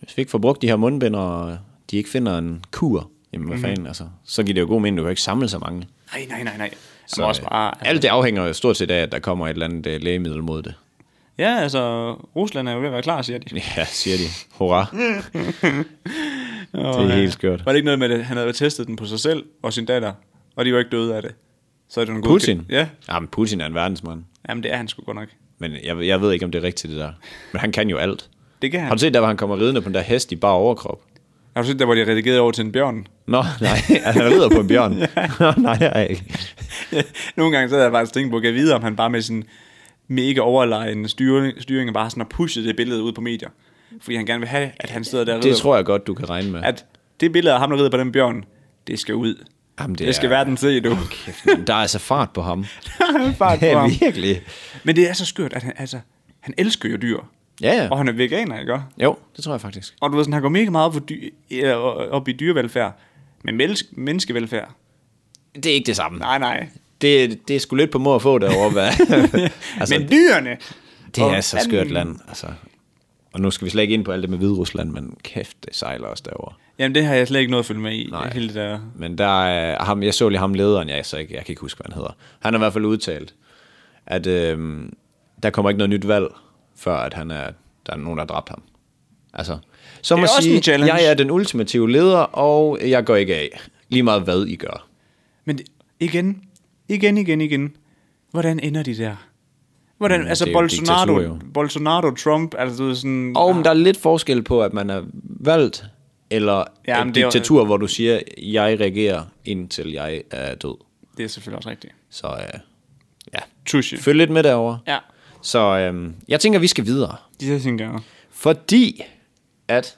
A: hvis vi ikke får brugt de her mundbind, og de ikke finder en kur. Jamen,
B: Mhm.
A: hvad mm. fanden, altså. Så giver det jo god mening, du kan ikke samle så mange.
B: Nej, nej, nej, nej. Så,
A: Så,
B: også
A: øh,
B: bare,
A: Alt det afhænger jo stort set af, at der kommer et eller andet øh, lægemiddel mod det.
B: ja, altså, Rusland er jo ved at være klar, siger de.
A: Ja, siger de. Hurra.
B: Mm. Og,
A: Det er
B: øh,
A: helt skørt.
B: Var det ikke noget med, at han havde testet den på sig selv og sin datter, og de var ikke døde af det? Så er det en god
A: Putin?
B: Ja,
A: Jamen, Putin er en verdensmand.
B: jamen det er han sgu godt nok.
A: Men jeg, jeg ved ikke, om det er rigtigt, det der. Men han kan jo alt.
B: Det kan han.
A: Har du set, der hvor han kommer ridende på den der hest i bare overkrop?
B: Har du set der, hvor de redigerede over til en bjørn?
A: Nå, nej, han rider på en bjørn. Nå, nej, jeg ikke.
B: Nogle gange så havde jeg faktisk tænkt på, at jeg vide, om han bare med sin mega overlegen styring, styring bare sådan har pushet det billede ud på medier. Fordi han gerne vil have, at han sidder der og
A: Det
B: rider.
A: tror jeg godt, du kan regne med.
B: At det billede af ham, der rider på den bjørn, det skal ud.
A: Jamen, det
B: det skal
A: er-
B: verden se, du.
A: Kæft, mand, der er altså fart på ham.
B: Fart på ham.
A: virkelig.
B: Men det er så skørt, at han, altså, han elsker jo dyr.
A: Ja, ja.
B: Og han er veganer, ikke? også?
A: Jo, det tror jeg faktisk.
B: Og du ved, sådan, han går mega meget op, for dy- øh, op i dyrevelfærd. Men menneske- menneskevelfærd?
A: Det er ikke det samme.
B: Nej, nej.
A: Det, det er sgu lidt på mor at få derovre, hvad? altså,
B: Men dyrene!
A: det
B: Åh,
A: er så skørt land, altså. Og nu skal vi slet ikke ind på alt det med Hviderusland, men kæft, det sejler også derovre.
B: Jamen, det har jeg slet ikke noget at følge med i.
A: Nej.
B: Hele det der
A: Men der er ham, jeg så lige ham lederen, jeg, så ikke, jeg kan ikke huske, hvad han hedder. Han har i hvert fald udtalt, at øh, der kommer ikke noget nyt valg, før at han er, der er nogen, der har dræbt ham. Altså, så
B: Det
A: må
B: er også
A: sige,
B: en challenge.
A: jeg er den ultimative leder, og jeg går ikke af. Lige meget hvad I gør.
B: Men det- igen, igen, igen, igen. Hvordan ender de der? Hvordan,
A: Mm,
B: altså
A: det er jo
B: Bolsonaro,
A: diktatur, jo.
B: Bolsonaro, Trump, altså du ved sådan...
A: Og om der er lidt forskel på, at man er valgt, eller ja,
B: Ja, men
A: et
B: det er jo-
A: diktatur, hvor du siger, jeg regerer, indtil jeg er død.
B: Det er selvfølgelig også rigtigt.
A: Så øh, ja,
B: Tusche.
A: følg lidt med derovre.
B: Ja.
A: Så øh, jeg tænker, vi skal videre.
B: De der ting der.
A: Fordi at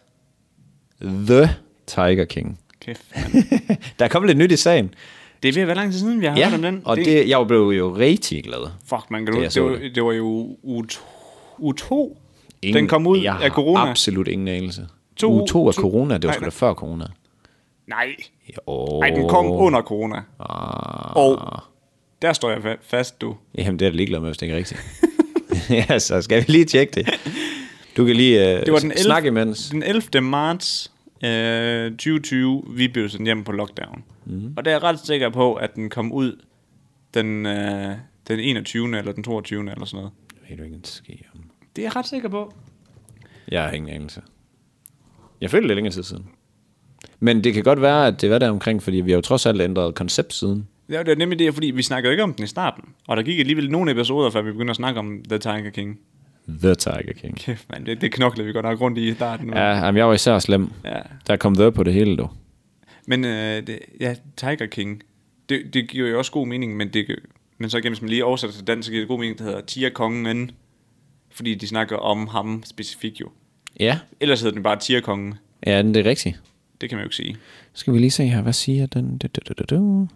A: The Tiger King.
B: Kæft.
A: der er kommet lidt nyt i sagen.
B: Det er ved at være lang tid siden, vi har hørt om den.
A: og det, jeg blev jo rigtig glad.
B: Fuck, man kan
A: Det,
B: det,
A: jeg så
B: det, var, det var jo u, u 2. Den kom ud
A: jeg
B: af
A: har
B: corona.
A: absolut ingen anelse.
B: To-
A: To, Uge 2 af
B: to-
A: corona, det var
B: nej,
A: sgu da
B: nej.
A: før corona.
B: Nej.
A: Ja, åh.
B: Nej, den kom under corona.
A: Ah,
B: Og der står jeg fa- fast, du.
A: jamen, det er jeg da ligeglad med, hvis det ikke er rigtigt. ja, så skal vi lige tjekke det. Du kan lige øh,
B: Det var den 11.
A: snakke imens.
B: Den 11. marts øh, 2020, vi blev sendt hjem på lockdown.
A: Mhm.
B: Mm. Og der er jeg ret sikker på, at den kom ud den, øh, den 21. eller den 22. eller sådan noget.
A: Jeg ved du ikke en skid om.
B: Det er jeg ret sikker på.
A: Jeg har ingen anelse. Jeg følte det er længere tid siden. Men det kan godt være, at det var der omkring, fordi vi har jo trods alt ændret koncept siden.
B: Ja, det er nemlig det, fordi vi snakkede jo ikke om den i starten. Og der gik alligevel nogle episoder, før vi begyndte at snakke om The Tiger King.
A: The Tiger King.
B: Kæft, man, det, det knoklede vi godt nok rundt i i starten.
A: Ja, jamen, jeg var især slem.
B: ja.
A: Der kom The på det hele, du.
B: Men øh, det, ja, Tiger King, det, det giver jo også god mening, men, det, gør- men så igen, hvis man lige oversætter til dansk, så giver det god mening, det hedder Tia Kongen, fordi de snakker om ham specifikt jo.
A: Ja,
B: Ellers hedder den bare Tia Kongen,
A: ja men det er rigtigt.
B: det kan man jo ikke sige.
A: Skal vi lige se her, hvad siger den? Du, du, du, du, du.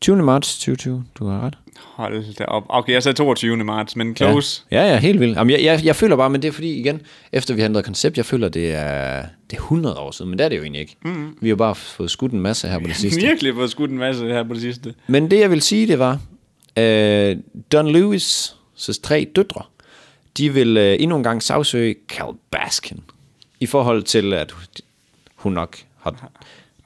A: 20. marts 2020, du har ret.
B: Hold da op. Okay, jeg sagde 22. marts, men close.
A: Ja, ja, ja helt vildt. Jamen, jeg, jeg, jeg føler bare, men det er fordi, igen, efter vi har ændret koncept, jeg føler, det er, det er 100 år siden, men det er det jo egentlig ikke. Mm. Vi har bare fået skudt en masse her på det
B: Ja.
A: sidste.
B: Virkelig fået skudt en masse her på det sidste.
A: Men det jeg vil sige, det var, øh, Don Lewis' tre døtre, de vil øh, endnu en gang sagsøge Cal Baskin, i forhold til, at hun nok har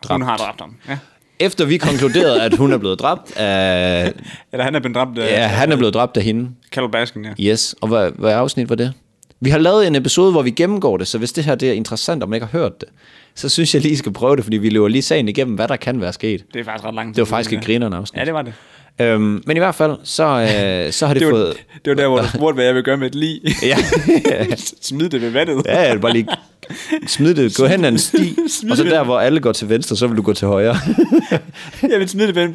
A: dræbt.
B: Hun har dræbt ham. Ja.
A: Efter vi konkluderede, at hun er blevet dræbt af...
B: Eller han er blevet dræbt af
A: Ja,
B: ja.
A: han er blevet dræbt af hende.
B: Carol Baskin, ja.
A: Yes, og hvad, hvad afsnit var det? Vi har lavet en episode, hvor vi gennemgår det, så hvis det her det er interessant, og man ikke har hørt det, så synes jeg lige, I skal prøve det, fordi vi løber lige sagen igennem, hvad der kan være sket.
B: Det er faktisk ret langt.
A: Det var faktisk et grinerende afsnit.
B: Ja, det var det.
A: Øhm, men i hvert fald, så, øh, så har det, det
B: Det var,
A: fået...
B: det var der, hvor du spurgte, hvad jeg vil gøre med et lig.
A: Ja,
B: Smid det ved vandet.
A: ja, jeg vil bare lige smid det, gå hen ad en sti,
B: Smid
A: og så
B: det.
A: der, hvor alle går til venstre, så vil du gå til højre.
B: Jeg vil smide det ved en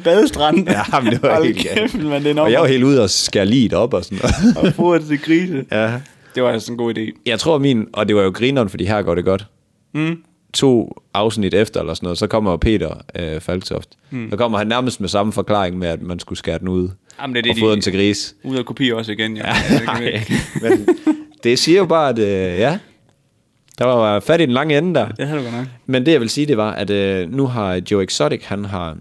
B: badestrand.
A: Ja, men det var
B: Hold
A: helt
B: kæft, man, det er
A: Og
B: nok.
A: jeg var helt ude og skære liget op og sådan noget.
B: Og fodret til grise.
A: Ja.
B: Det var altså en god idé.
A: Jeg tror min, og det var jo grineren, fordi her går det godt.
B: Mm.
A: to afsnit efter eller sådan noget, så kommer Peter øh, Falktoft. Mm. Så kommer han nærmest med samme forklaring med, at man skulle skære den ud
B: Jamen, det er det,
A: og fodre
B: de-
A: den til gris.
B: Ud af kopi også igen, ja.
A: Nej, men det siger jo bare, at øh, ja, der var fat i den lange ende der.
B: Det havde du godt nok.
A: Men det jeg vil sige, det var, at øh, nu har Joe Exotic, han har,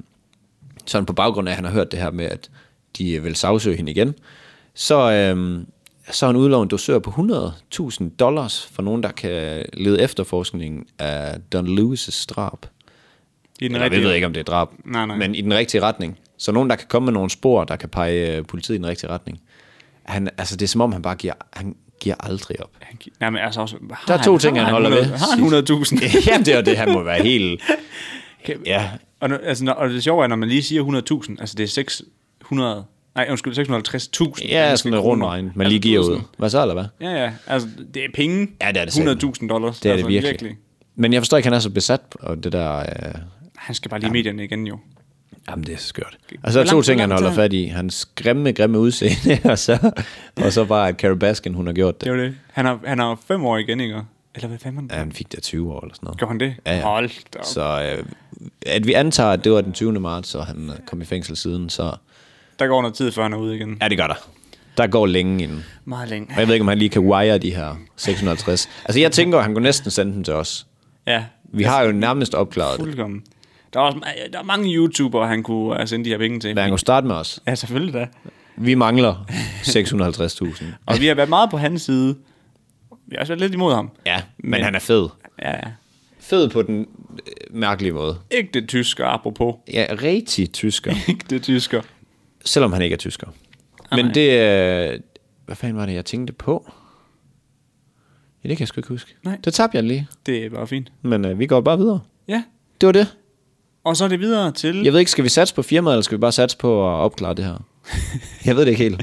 A: sådan på baggrund af, at han har hørt det her med, at de øh, vil sagsøge hende igen, så, øh, så har han udlovet en dosør på 100.000 dollars for nogen, der kan lede efterforskningen af Don Lewis' drab.
B: I den
A: Eller, vi
B: rigtige-
A: ved ikke, om det er drab,
B: Nej, nej.
A: men i den rigtige retning. Så nogen, der kan komme med nogle spor, der kan pege øh, politiet i den rigtige retning. Han, altså, det er som om, han bare giver, han giver aldrig op.
B: Han gi- Nej, men altså også... har
A: Der er to ting,
B: har
A: han holder
B: 100
A: ved.
B: Har han 100.000?
A: Jamen, det er jo det, han må være helt... Ja,
B: Og, nu- altså, når, og det sjove er, når man lige siger 100.000, altså det er 600... Nej, undskyld, 650.000.
A: ja
B: danske
A: sådan en rund
B: kroner.
A: regn, man
B: Altså,
A: lige giver ud.
B: 1000.
A: Hvad så, eller hvad?
B: Ja, ja. Altså, det er penge.
A: Ja, det er det satme.
B: 100.000 dollars.
A: Det er
B: altså,
A: det virkelig. Men jeg forstår ikke, han er så besat på det der... Øh,
B: Han skal bare lige i medierne igen, jo.
A: jamen, det er så skørt. Altså, der er
B: Hvor
A: to
B: langt-
A: ting,
B: hvor
A: han
B: langt
A: holder
B: er-
A: fat i. Hans grimme, grimme udseende, og så, og så bare, at Carol Baskin, hun har gjort
B: Det
A: det.
B: er jo det. Han har, han har fem år igen, ikke? Eller hvad fanden?
A: Ja,
B: Ja.
A: han fik det i 20 år, eller sådan noget.
B: Gjorde han det?
A: Ja, ja.
B: Hold da op.
A: Så øh, at vi antager, at det var den 20. marts, og han øh, kom i fængsel siden, så...
B: Der går noget tid, før han er ude igen. Ja.
A: Ja, det gør der. Der går længe inden.
B: Meget længe.
A: Og jeg ved ikke, om han lige kan wire de her 650. Altså, jeg tænker, at han kunne næsten sende den til os.
B: Ja,
A: Vi har jo nærmest opklaret det.
B: fuldkommen. Der er, også, ma- der er mange YouTubere, han kunne øh, sende de her penge til.
A: Men han kunne starte med os.
B: Ja, selvfølgelig da.
A: Vi mangler 650.000.
B: Og vi har været meget på hans side. Vi har også været lidt imod ham.
A: Ja, men han er fed.
B: Ja, ja.
A: Fed på den øh, mærkelige måde.
B: Ægte tysker, apropos.
A: Ja, rigtig tysker.
B: Ægte tysker.
A: Selvom han ikke er tysker.
B: Ah,
A: Men det... Øh, hvad fanden var det, jeg tænkte på? Ja, det kan jeg sgu ikke huske.
B: Nej.
A: Det tabte jeg lige.
B: Det er bare fint.
A: Men øh, vi går bare videre.
B: Ja,
A: Det var det.
B: og så er det videre til...
A: Jeg ved ikke, skal vi satse på firmaet, eller skal vi bare satse på at opklare det her? Jeg ved det ikke helt.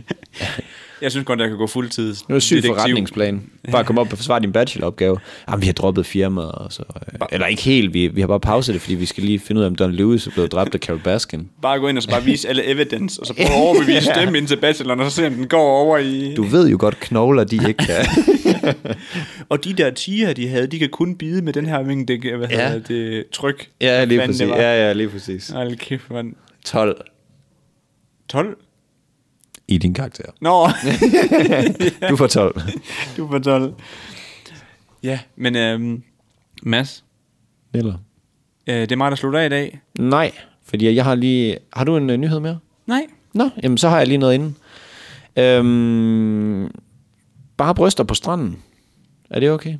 B: Jeg synes godt, jeg kan gå fuldtids.
A: Nu er syg
B: detektiv.
A: forretningsplan. Bare komme op og forsvare din bacheloropgave. Jamen, vi har droppet firmaet, og så, øh, eller ikke helt, vi, vi har bare pauset det, fordi vi skal lige finde ud af, om Don Lewis er blevet dræbt af Carol Baskin.
B: Bare gå ind og så bare vise alle evidence, og så prøve at overbevise dem ind til bacheloren, og så se, om den går over i...
A: Du ved jo godt, knogler de ikke kan.
B: Og de der tiger, de havde, de kan kun bide med den her vingdæk, hvad
A: Ja.
B: hedder det, tryk.
A: ja, lige
B: Hvad
A: præcis.
B: fanden det var.
A: Ja, ja, lige præcis.
B: Hold kæft, mand.
A: 12
B: 12?
A: i din karakter.
B: Nå,
A: Du får 12.
B: du var 12. Ja, men øhm, Mads,
A: Eller?
B: øh, det er mig, der slutter af i dag.
A: Nej, fordi jeg har lige... Har du en øh, nyhed mere?
B: Nej.
A: Nå, jamen så har jeg lige noget inden. Øhm, bare bryster på stranden. Er det okay?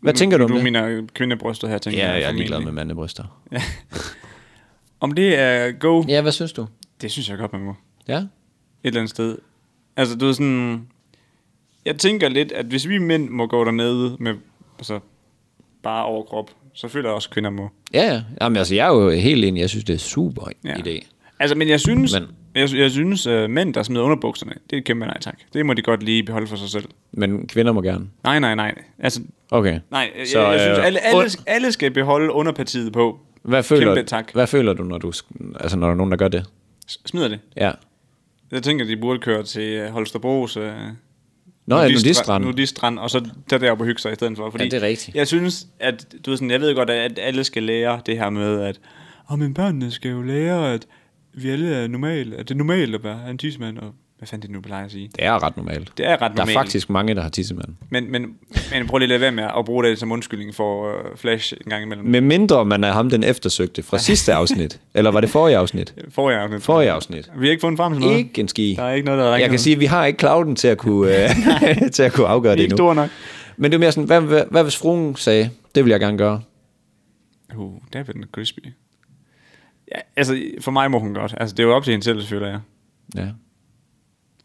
A: Hvad tænker Mm, du om
B: du
A: det?
B: Du mener kvindebrystet her, tænker
A: Ja, jeg er
B: formentlig.
A: ligeglad med mandebryster.
B: Om det er go,
A: Ja, hvad synes du?
B: det synes jeg godt, man må.
A: Ja?
B: et eller andet sted. Altså, du ved sådan... Jeg tænker lidt, at hvis vi mænd må gå dernede med altså, bare overkrop, så føler jeg også, at kvinder må.
A: Ja, ja. Jamen, altså, jeg er jo helt enig. Jeg synes, det er super ja.
B: Ja.
A: idé.
B: Altså, men jeg synes,
A: Men-
B: men. jeg, jeg synes uh, mænd, der smider underbukserne, det er et kæmpe nej tak. Det må de godt lige beholde for sig selv.
A: Men kvinder må gerne.
B: Altså, øh,
A: altså,
B: øh,
A: øh,
B: øh, Uh, der er den crispy. Ja, altså, for mig må hun godt. Altså, det er jo op til hende selv, selvfølgelig. Ja.
A: Ja.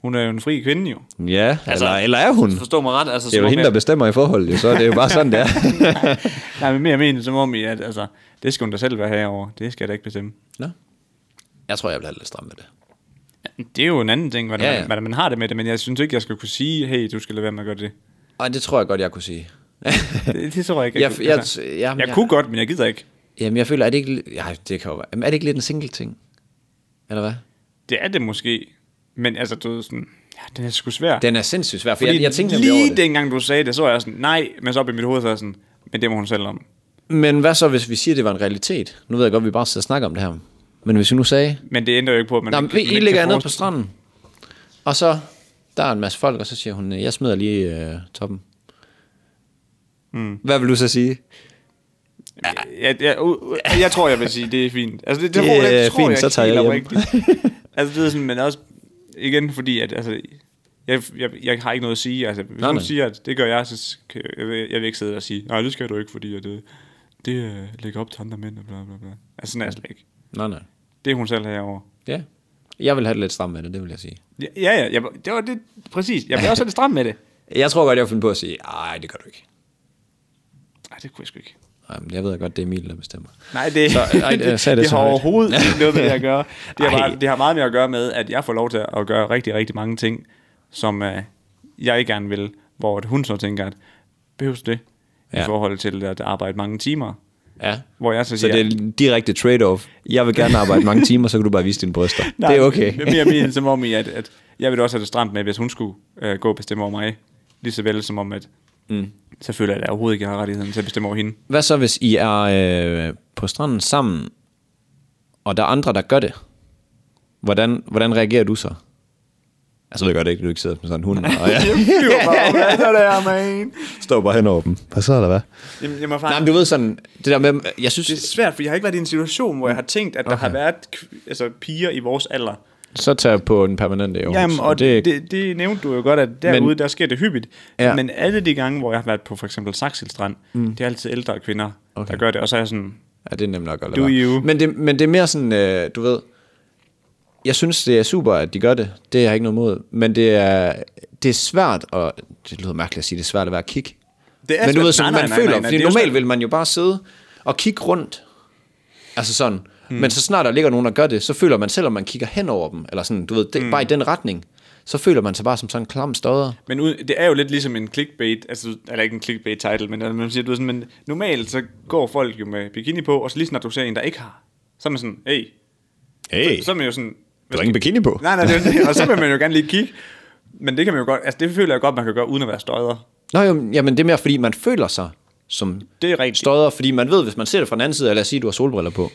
B: Hun er jo en fri kvinde, jo.
A: Ja, altså, eller, eller er hun?
B: Forstå mig ret. Altså,
A: Det er
B: som
A: jo
B: om
A: hende,
B: jeg-
A: der bestemmer i forholdet, jo, så det er jo bare sådan, det er.
B: Nej, men mere mener som om, I, at altså, det skal hun da selv være herover. Det skal jeg da ikke bestemme.
A: Nå. Jeg tror, jeg bliver lidt stram med det.
B: Ja, Det er jo en anden ting, hvordan,
A: Ja,
B: ja,
A: ja.
B: ja. Man, hvordan man har det med det, men jeg synes ikke, jeg skal kunne sige, hey, du skal lade være med at gøre det.
A: Og det tror jeg godt, jeg kunne sige.
B: Det, det tror jeg ikke.
A: Jeg-
B: kunne.
A: jeg-
B: altså,
A: jamen,
B: jeg
A: jeg-
B: kunne godt, men jeg gider ikke.
A: Jamen, jeg føler, er det ikke... li- Ej, det kan jo være. Jamen, er det ikke lidt en single ting? Eller hvad?
B: Det er det måske. Men altså, du ved sådan, ja, den er sgu svær.
A: Den er sindssygt svær, for
B: Fordi
A: jeg, jeg tænkte nemlig over
B: lige
A: det.
B: dengang, du sagde det, så var jeg sådan, nej, men så op i mit hoved, så er jeg sådan, men det må hun selv om.
A: Men hvad så, hvis vi siger, at det var en realitet? Nu ved jeg godt, at vi bare sidder og snakker om det her. Men hvis vi nu sagde...
B: Men det ændrer jo ikke på, at man
A: Nå, men
B: ikke, man
A: I
B: ikke
A: ligger
B: kan
A: nede på
B: forestille-
A: stranden. Og så... Der er en masse folk, og så siger hun, jeg smider lige øh, toppen. Mm. Hvad vil du så sige?
B: Jeg, jeg, jeg, jeg tror, jeg vil sige, det er fint. Altså, det, det,
A: Det
B: det tror,
A: er
B: jeg, tror
A: fint,
B: jeg
A: så tager
B: helt
A: jeg hjem.
B: oprigtigt. altså, det er sådan, men også igen, fordi at, altså, jeg, jeg, jeg har ikke noget at sige. Altså, hvis
A: Nej,
B: nej, hun
A: nej.
B: siger, at det gør jeg, så kan jeg, jeg, vil, jeg vil ikke sidde og sige, nej, det skal du ikke, fordi at, det, det øh, lægger op til andre mænd, og bla bla bla. Altså, sådan er jeg slet ikke.
A: Nej, nej.
B: Det er hun selv herovre.
A: Ja. Jeg vil have det lidt stramt med det, det vil jeg sige.
B: Ja, ja, ja jeg, det var det, præcis. Jeg blev også lidt stram med det.
A: Jeg tror godt, jeg vil finde på at sige, nej, det gør du ikke.
B: Nej, det kunne jeg sgu ikke.
A: Ej, men jeg ved godt, det er Emil, der bestemmer.
B: Nej, det,
A: Så, ej, jeg
B: det,
A: sagde det
B: det
A: så
B: har
A: højt.
B: overhovedet ikke noget med det at gøre. Det har,
A: Ej.
B: bare, det har meget med at gøre med, at jeg får lov til at gøre rigtig, rigtig mange ting, som øh, jeg ikke gerne vil, hvor at hun så tænker, at behøves det ja.
A: Ja.
B: i forhold til at arbejde mange timer.
A: Ja.
B: Hvor jeg så
A: Så
B: siger,
A: det er en direkte trade-off. Jeg vil gerne arbejde mange timer, så kan du bare vise dine bryster.
B: nej,
A: det er okay.
B: men Mere mere som om, i, at, at jeg vil også have det stramt med, hvis hun skulle øh, gå og bestemme over mig, lige så vel som om, at mm. så føler jeg, at jeg overhovedet ikke har rettigheden til at bestemme over hende.
A: Hvad så, hvis I er øh, på stranden sammen, og der er andre, der gør det? Hvordan, hvordan reagerer du så? Altså, jeg ved godt ikke, at du ikke sidder med sådan en hund, og jeg
B: Flyver bare, hvad er det her, man?
A: står bare hen over dem. Hvad så, eller hvad?
B: Jamen, jeg må faktisk...
A: Nej, men du ved sådan, det der med, jeg
B: Det er
A: synes,
B: svært, for jeg har ikke været i en situation, hvor jeg har tænkt, at der okay. har været kv- altså, piger i vores alder.
A: så tager på en permanent i Aarhus.
B: Jamen, og det, det, det nævnte du jo godt, at derude, men, der sker det hyppigt.
A: Ja.
B: Ja. Men alle de gange, hvor jeg har været på for eksempel Saxilstrand, mm. det er altid ældre kvinder, okay. der gør det. Og så er jeg sådan,
A: Ja, det er nemt nok at lade
B: Do
A: være.
B: you.
A: Men det, men det er mere sådan, øh, du ved, jeg synes, det er super, at de gør det. Det har jeg ikke noget mod. Men det er, det er svært, og det lyder mærkeligt at sige, det er svært at være kig.
B: Det er
A: men du
B: svært.
A: ved, som
B: Nej,
A: man
B: nej, nej,
A: føler,
B: nej, nej,
A: fordi
B: det er jo
A: normalt
B: svært.
A: vil man jo bare sidde og kigge rundt. Altså sådan. Mm.
B: Hmm.
A: Men så snart der ligger nogen, der gør det, så føler man, selvom man kigger hen over dem, eller sådan, du ved,
B: Hmm.
A: det, mm. bare i den retning, så føler man sig bare som sådan en klam stodder.
B: men ud, det er jo lidt ligesom en clickbait, altså, eller ikke en clickbait title, men altså, man siger, du ved, sådan, men normalt så går folk jo med bikini på, og så lige snart du ser en, der ikke har, så er man sådan, hey,
A: Hey,
B: så er man jo sådan,
A: du har ingen bikini på.
B: nej, nej, det er jo det, og så vil man jo gerne lige kigge. Men det kan man jo godt, altså det føler jeg godt, man kan gøre, uden at være støjder.
A: Nå jo, jamen det er mere, fordi man føler sig som
B: Det er rigtigt.
A: stodder, fordi man ved, hvis man ser det fra den anden side, lad os sige, du har solbriller på,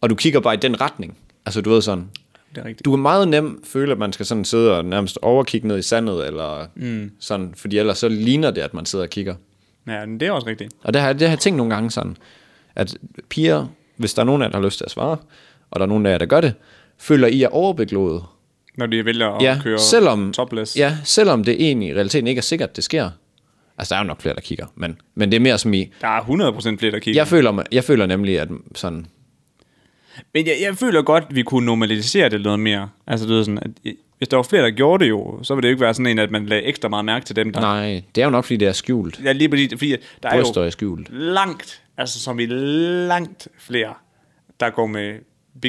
A: og du kigger bare i den retning, altså du ved sådan,
B: Det er rigtigt.
A: du er meget nem føle, at man skal sådan sidde og nærmest overkigge ned i sandet, eller mm. sådan, fordi ellers så ligner det, at man sidder og kigger.
B: Ja, men det er også rigtigt.
A: Og det har, det har jeg tænkt nogle gange sådan, at piger, hvis der er nogen af jer, der har lyst til at svare, og der er nogen af jer, der gør det, føler I er overbeglået.
B: Når de vælger at
A: Ja,
B: køre
A: selvom,
B: topless.
A: ja, selvom det egentlig i realiteten ikke er sikkert, det sker. Altså, der er jo nok flere, der kigger, men, men det er mere som i,
B: Der er 100% flere, der kigger.
A: jeg føler, jeg føler nemlig, at sådan,
B: Men jeg, jeg føler godt, at vi kunne normalisere det noget mere. Altså, du ved sådan, at hvis der var flere, der gjorde det jo, så ville det jo ikke være sådan en, at man lagde ekstra meget mærke til dem, der...
A: Nej, det er jo nok, fordi det er skjult.
B: Ja, lige fordi, fordi der er
A: Bryster
B: jo
A: er skjult.
B: langt, altså som i langt flere, der går med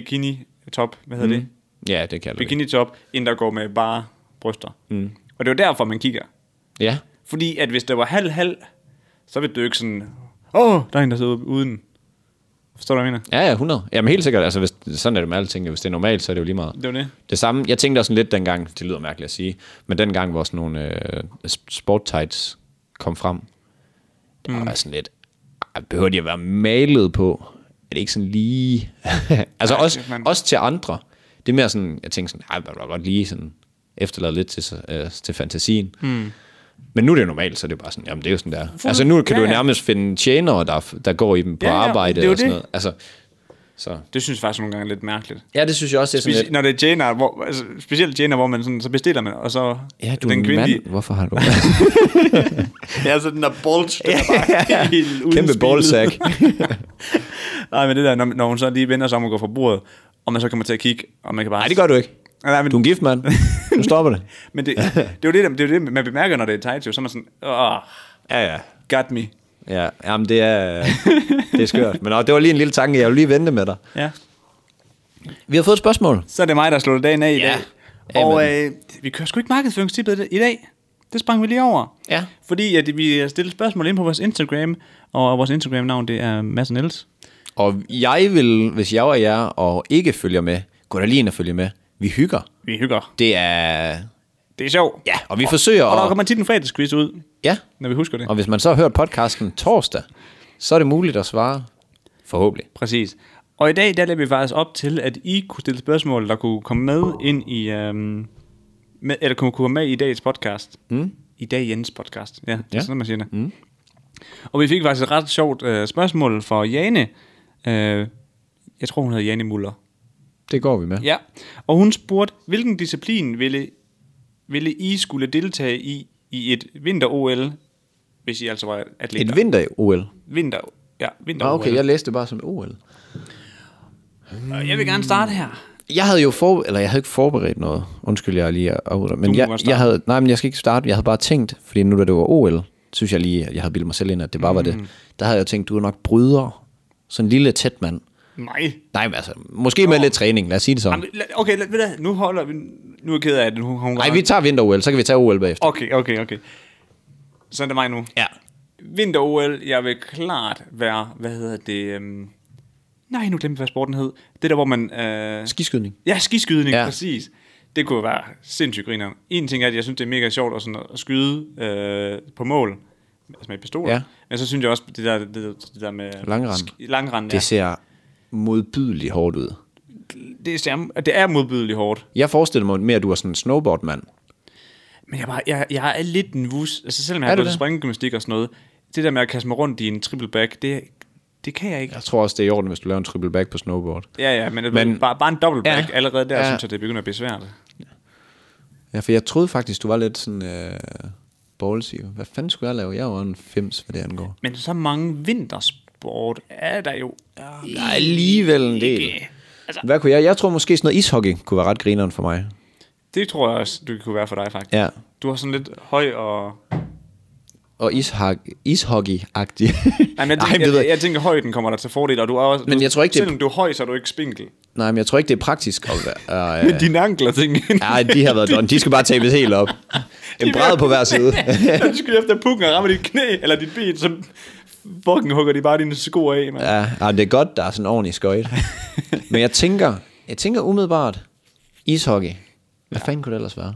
B: bikini-top, hvad hedder mm. det?
A: Ja, det kan du. ikke.
B: Bikini-top, end der går med bare bryster. Mm. Og det er jo derfor, man kigger.
A: Ja.
B: Fordi at hvis det var halv-halv, så ville det jo ikke sådan, åh, oh, der er en, der sidder uden. Forstår du, hvad jeg mener?
A: ja, ja, 100. Jamen helt sikkert, altså hvis, sådan er det med alting. jo. Hvis det er normalt, så er det jo lige meget.
B: Det er jo det.
A: Det samme, jeg tænkte også sådan lidt dengang, det lyder mærkeligt at sige, men dengang, hvor sådan nogle øh, sp- sport tights kom frem, der
B: Mm.
A: var jeg sådan lidt, "Ej, behøver de at være malet på? Er det ikke sådan lige... altså
B: Nej,
A: også,
B: det- man-
A: også til andre. Det er mere sådan, jeg tænkte sådan, "Ah, ej, man kan godt lige sådan efterlade lidt til, sig- øh, til fantasien. Mm. Men nu er det jo normalt, så er det er bare sådan, jamen det er jo sådan der. Altså nu kan
B: ja,
A: du jo
B: ja.
A: nærmest finde tjenere, der, f- der går i dem på
B: Ja, ja,
A: arbejde
B: det er jo
A: og sådan
B: det.
A: noget. Altså, så.
B: Det synes jeg faktisk nogle gange er lidt mærkeligt.
A: Ja, det synes jeg også, det er sådan lidt...
B: Hvis, når det er tjener, hvor, altså, specielt tjener, hvor man sådan, så bestiller man, og så
A: Ja, du er en mand. Hvorfor har du...
B: Ja, så den der bulge, den er bare helt uden
A: Kæmpe
B: spil.
A: ballsack.
B: Nej, men det der, når, når hun så lige vender sig om og går fra bordet, og man så kommer til at kigge, og man kan bare...
A: Nej, det gør du ikke.
B: Nej, men,
A: Du er en gift mand. Nu stopper det.
B: men det, det, er jo det, der- det, er jo det, man bemærker, når det er Taito, så er man sådan, åh,
A: Ja, ja.
B: got me.
A: Ja, jamen det er, det er skørt. Men nå, det var lige en lille tanke, jeg vil lige vente med dig.
B: Ja.
A: Vi har fået et spørgsmål.
B: Så er det mig, der slutter dagen af i
A: Ja.
B: dag. Og øh, vi kører sgu ikke markedsføringstippet i dag. Det sprang vi lige over.
A: Ja.
B: Fordi at vi stillede spørgsmål ind på vores Instagram, og vores Instagram-navn, det er Mads Niels.
A: Og jeg vil, hvis jeg var jer og ikke følger med, gå da lige ind og følge med. Vi hygger.
B: Vi hygger.
A: Det er...
B: Det er sjovt.
A: Ja, og vi forsøger
B: Og der
A: at...
B: kommer tit en fredagsquiz ud,
A: Ja,
B: når vi husker det.
A: og hvis man så har hørt podcasten torsdag, så er det muligt at svare. Forhåbentlig.
B: Præcis. Og i dag, der lader vi faktisk op til, at I kunne stille spørgsmål, der kunne komme med ind i... Øhm, med, eller kunne kunne komme med i dagens podcast. Mm. I dag Jens podcast. Ja, det ja.
A: Ja.
B: er sådan, man siger det. Mm. Og vi fik faktisk et ret sjovt øh, spørgsmål fra Jane. Øh, jeg tror, hun hedder Jane Muller.
A: Det går vi med.
B: Ja. Og hun spurgte, hvilken disciplin ville, ville I skulle deltage i i et vinter-OL, hvis I altså var atleter?
A: Et vinter-OL.
B: vinter, ja, vinter
A: Nå, okay, jeg læste det bare som OL.
B: jeg vil gerne starte her.
A: Jeg havde jo for, eller jeg havde ikke forberedt noget. Undskyld, jeg er lige afbryder. Men
B: må
A: jeg,
B: godt starte.
A: jeg havde, nej, men jeg skal ikke starte. Jeg havde bare tænkt, fordi nu da det var OL, synes jeg lige, at jeg havde bildet mig selv ind, at det bare var
B: Mm.
A: det. Der havde jeg tænkt, du er nok bryder. Sådan en lille tæt mand.
B: Nej.
A: Nej, men altså, måske med lidt træning, lad os sige det sådan.
B: Jamen, lad- Okay, lad- ved du hvad, nu holder vi... Nu er jeg ked af det. Nu har hun
A: Nej, vi tager vinter-OL, så kan vi tage OL bagefter.
B: Okay, okay, okay. Så er det mig nu.
A: Ja.
B: Vinter-OL, jeg vil klart være... Hvad hedder det? Øhm... Nej, nu glemte jeg, hvad sporten hed. Det der, hvor man... Øh...
A: Skiskydning.
B: Ja, skiskydning, ja.
A: Ja.
B: præcis. Det kunne være sindssygt griner. En ting er, at jeg synes, det er mega sjovt at, sådan, at skyde øh, på mål. Altså med pistoler. Ja.
A: Ja.
B: Men så synes jeg også, det der, det, der- det der med...
A: Langrend.
B: Sk- langrend, ja.
A: Det ser modbydeligt hårdt ud.
B: Det, det, er, det er modbydeligt hårdt.
A: Jeg forestiller mig mere, at du er sådan en snowboardmand.
B: Men jeg, er bare, jeg, jeg er lidt en vus. Altså selvom jeg
A: Er
B: har
A: du
B: gået til
A: det?
B: springgymnastik og sådan noget, det der med at kaste mig rundt i en triple back, det, det kan jeg ikke.
A: Jeg tror også, det er i orden, hvis du laver en triple back på snowboard.
B: Ja, ja, men, men
A: Men-
B: bare, bare en double back, ja,
A: Ja.
B: allerede der ja.
A: Ja.
B: synes jeg, det begynder at blive svært.
A: Ja, for jeg troede faktisk, du var lidt sådan øh, ballsy. Hvad fanden skulle jeg lave? Jeg var en fems, hvad det angår.
B: Men så mange vintersport er der jo.
A: Der er alligevel en del.
B: Altså-
A: Hvad kunne jeg? Jeg tror måske sådan noget ishockey kunne være ret grineren for mig.
B: Det tror jeg også, du kunne være for dig faktisk.
A: Ja.
B: Du har sådan lidt høj og...
A: Og ishak- ishockey-agtig.
B: Nej, men jeg,
A: Nej,
B: tænker,
A: det ved
B: jeg,
A: jeg
B: jeg, jeg tænker, højden kommer dig til fordel, og du er også...
A: Men
B: du,
A: jeg tror ikke, det er-
B: Selvom du er høj, så er du ikke spinkel.
A: Nej, men jeg tror ikke, det er praktisk at være...
B: Men dine ankler, tænker jeg.
A: Nej, de har været done. De skal bare tabes helt op. En bræd på hver side.
B: du skal efter pukken og rammer dit knæ, eller dit ben, så fucking hugger de bare dine sko af, mand.
A: Ja, ja, det er godt, der er sådan en ordentlig skøjt. Men jeg tænker, jeg tænker umiddelbart, ishockey. Hvad fanden kunne det ellers være?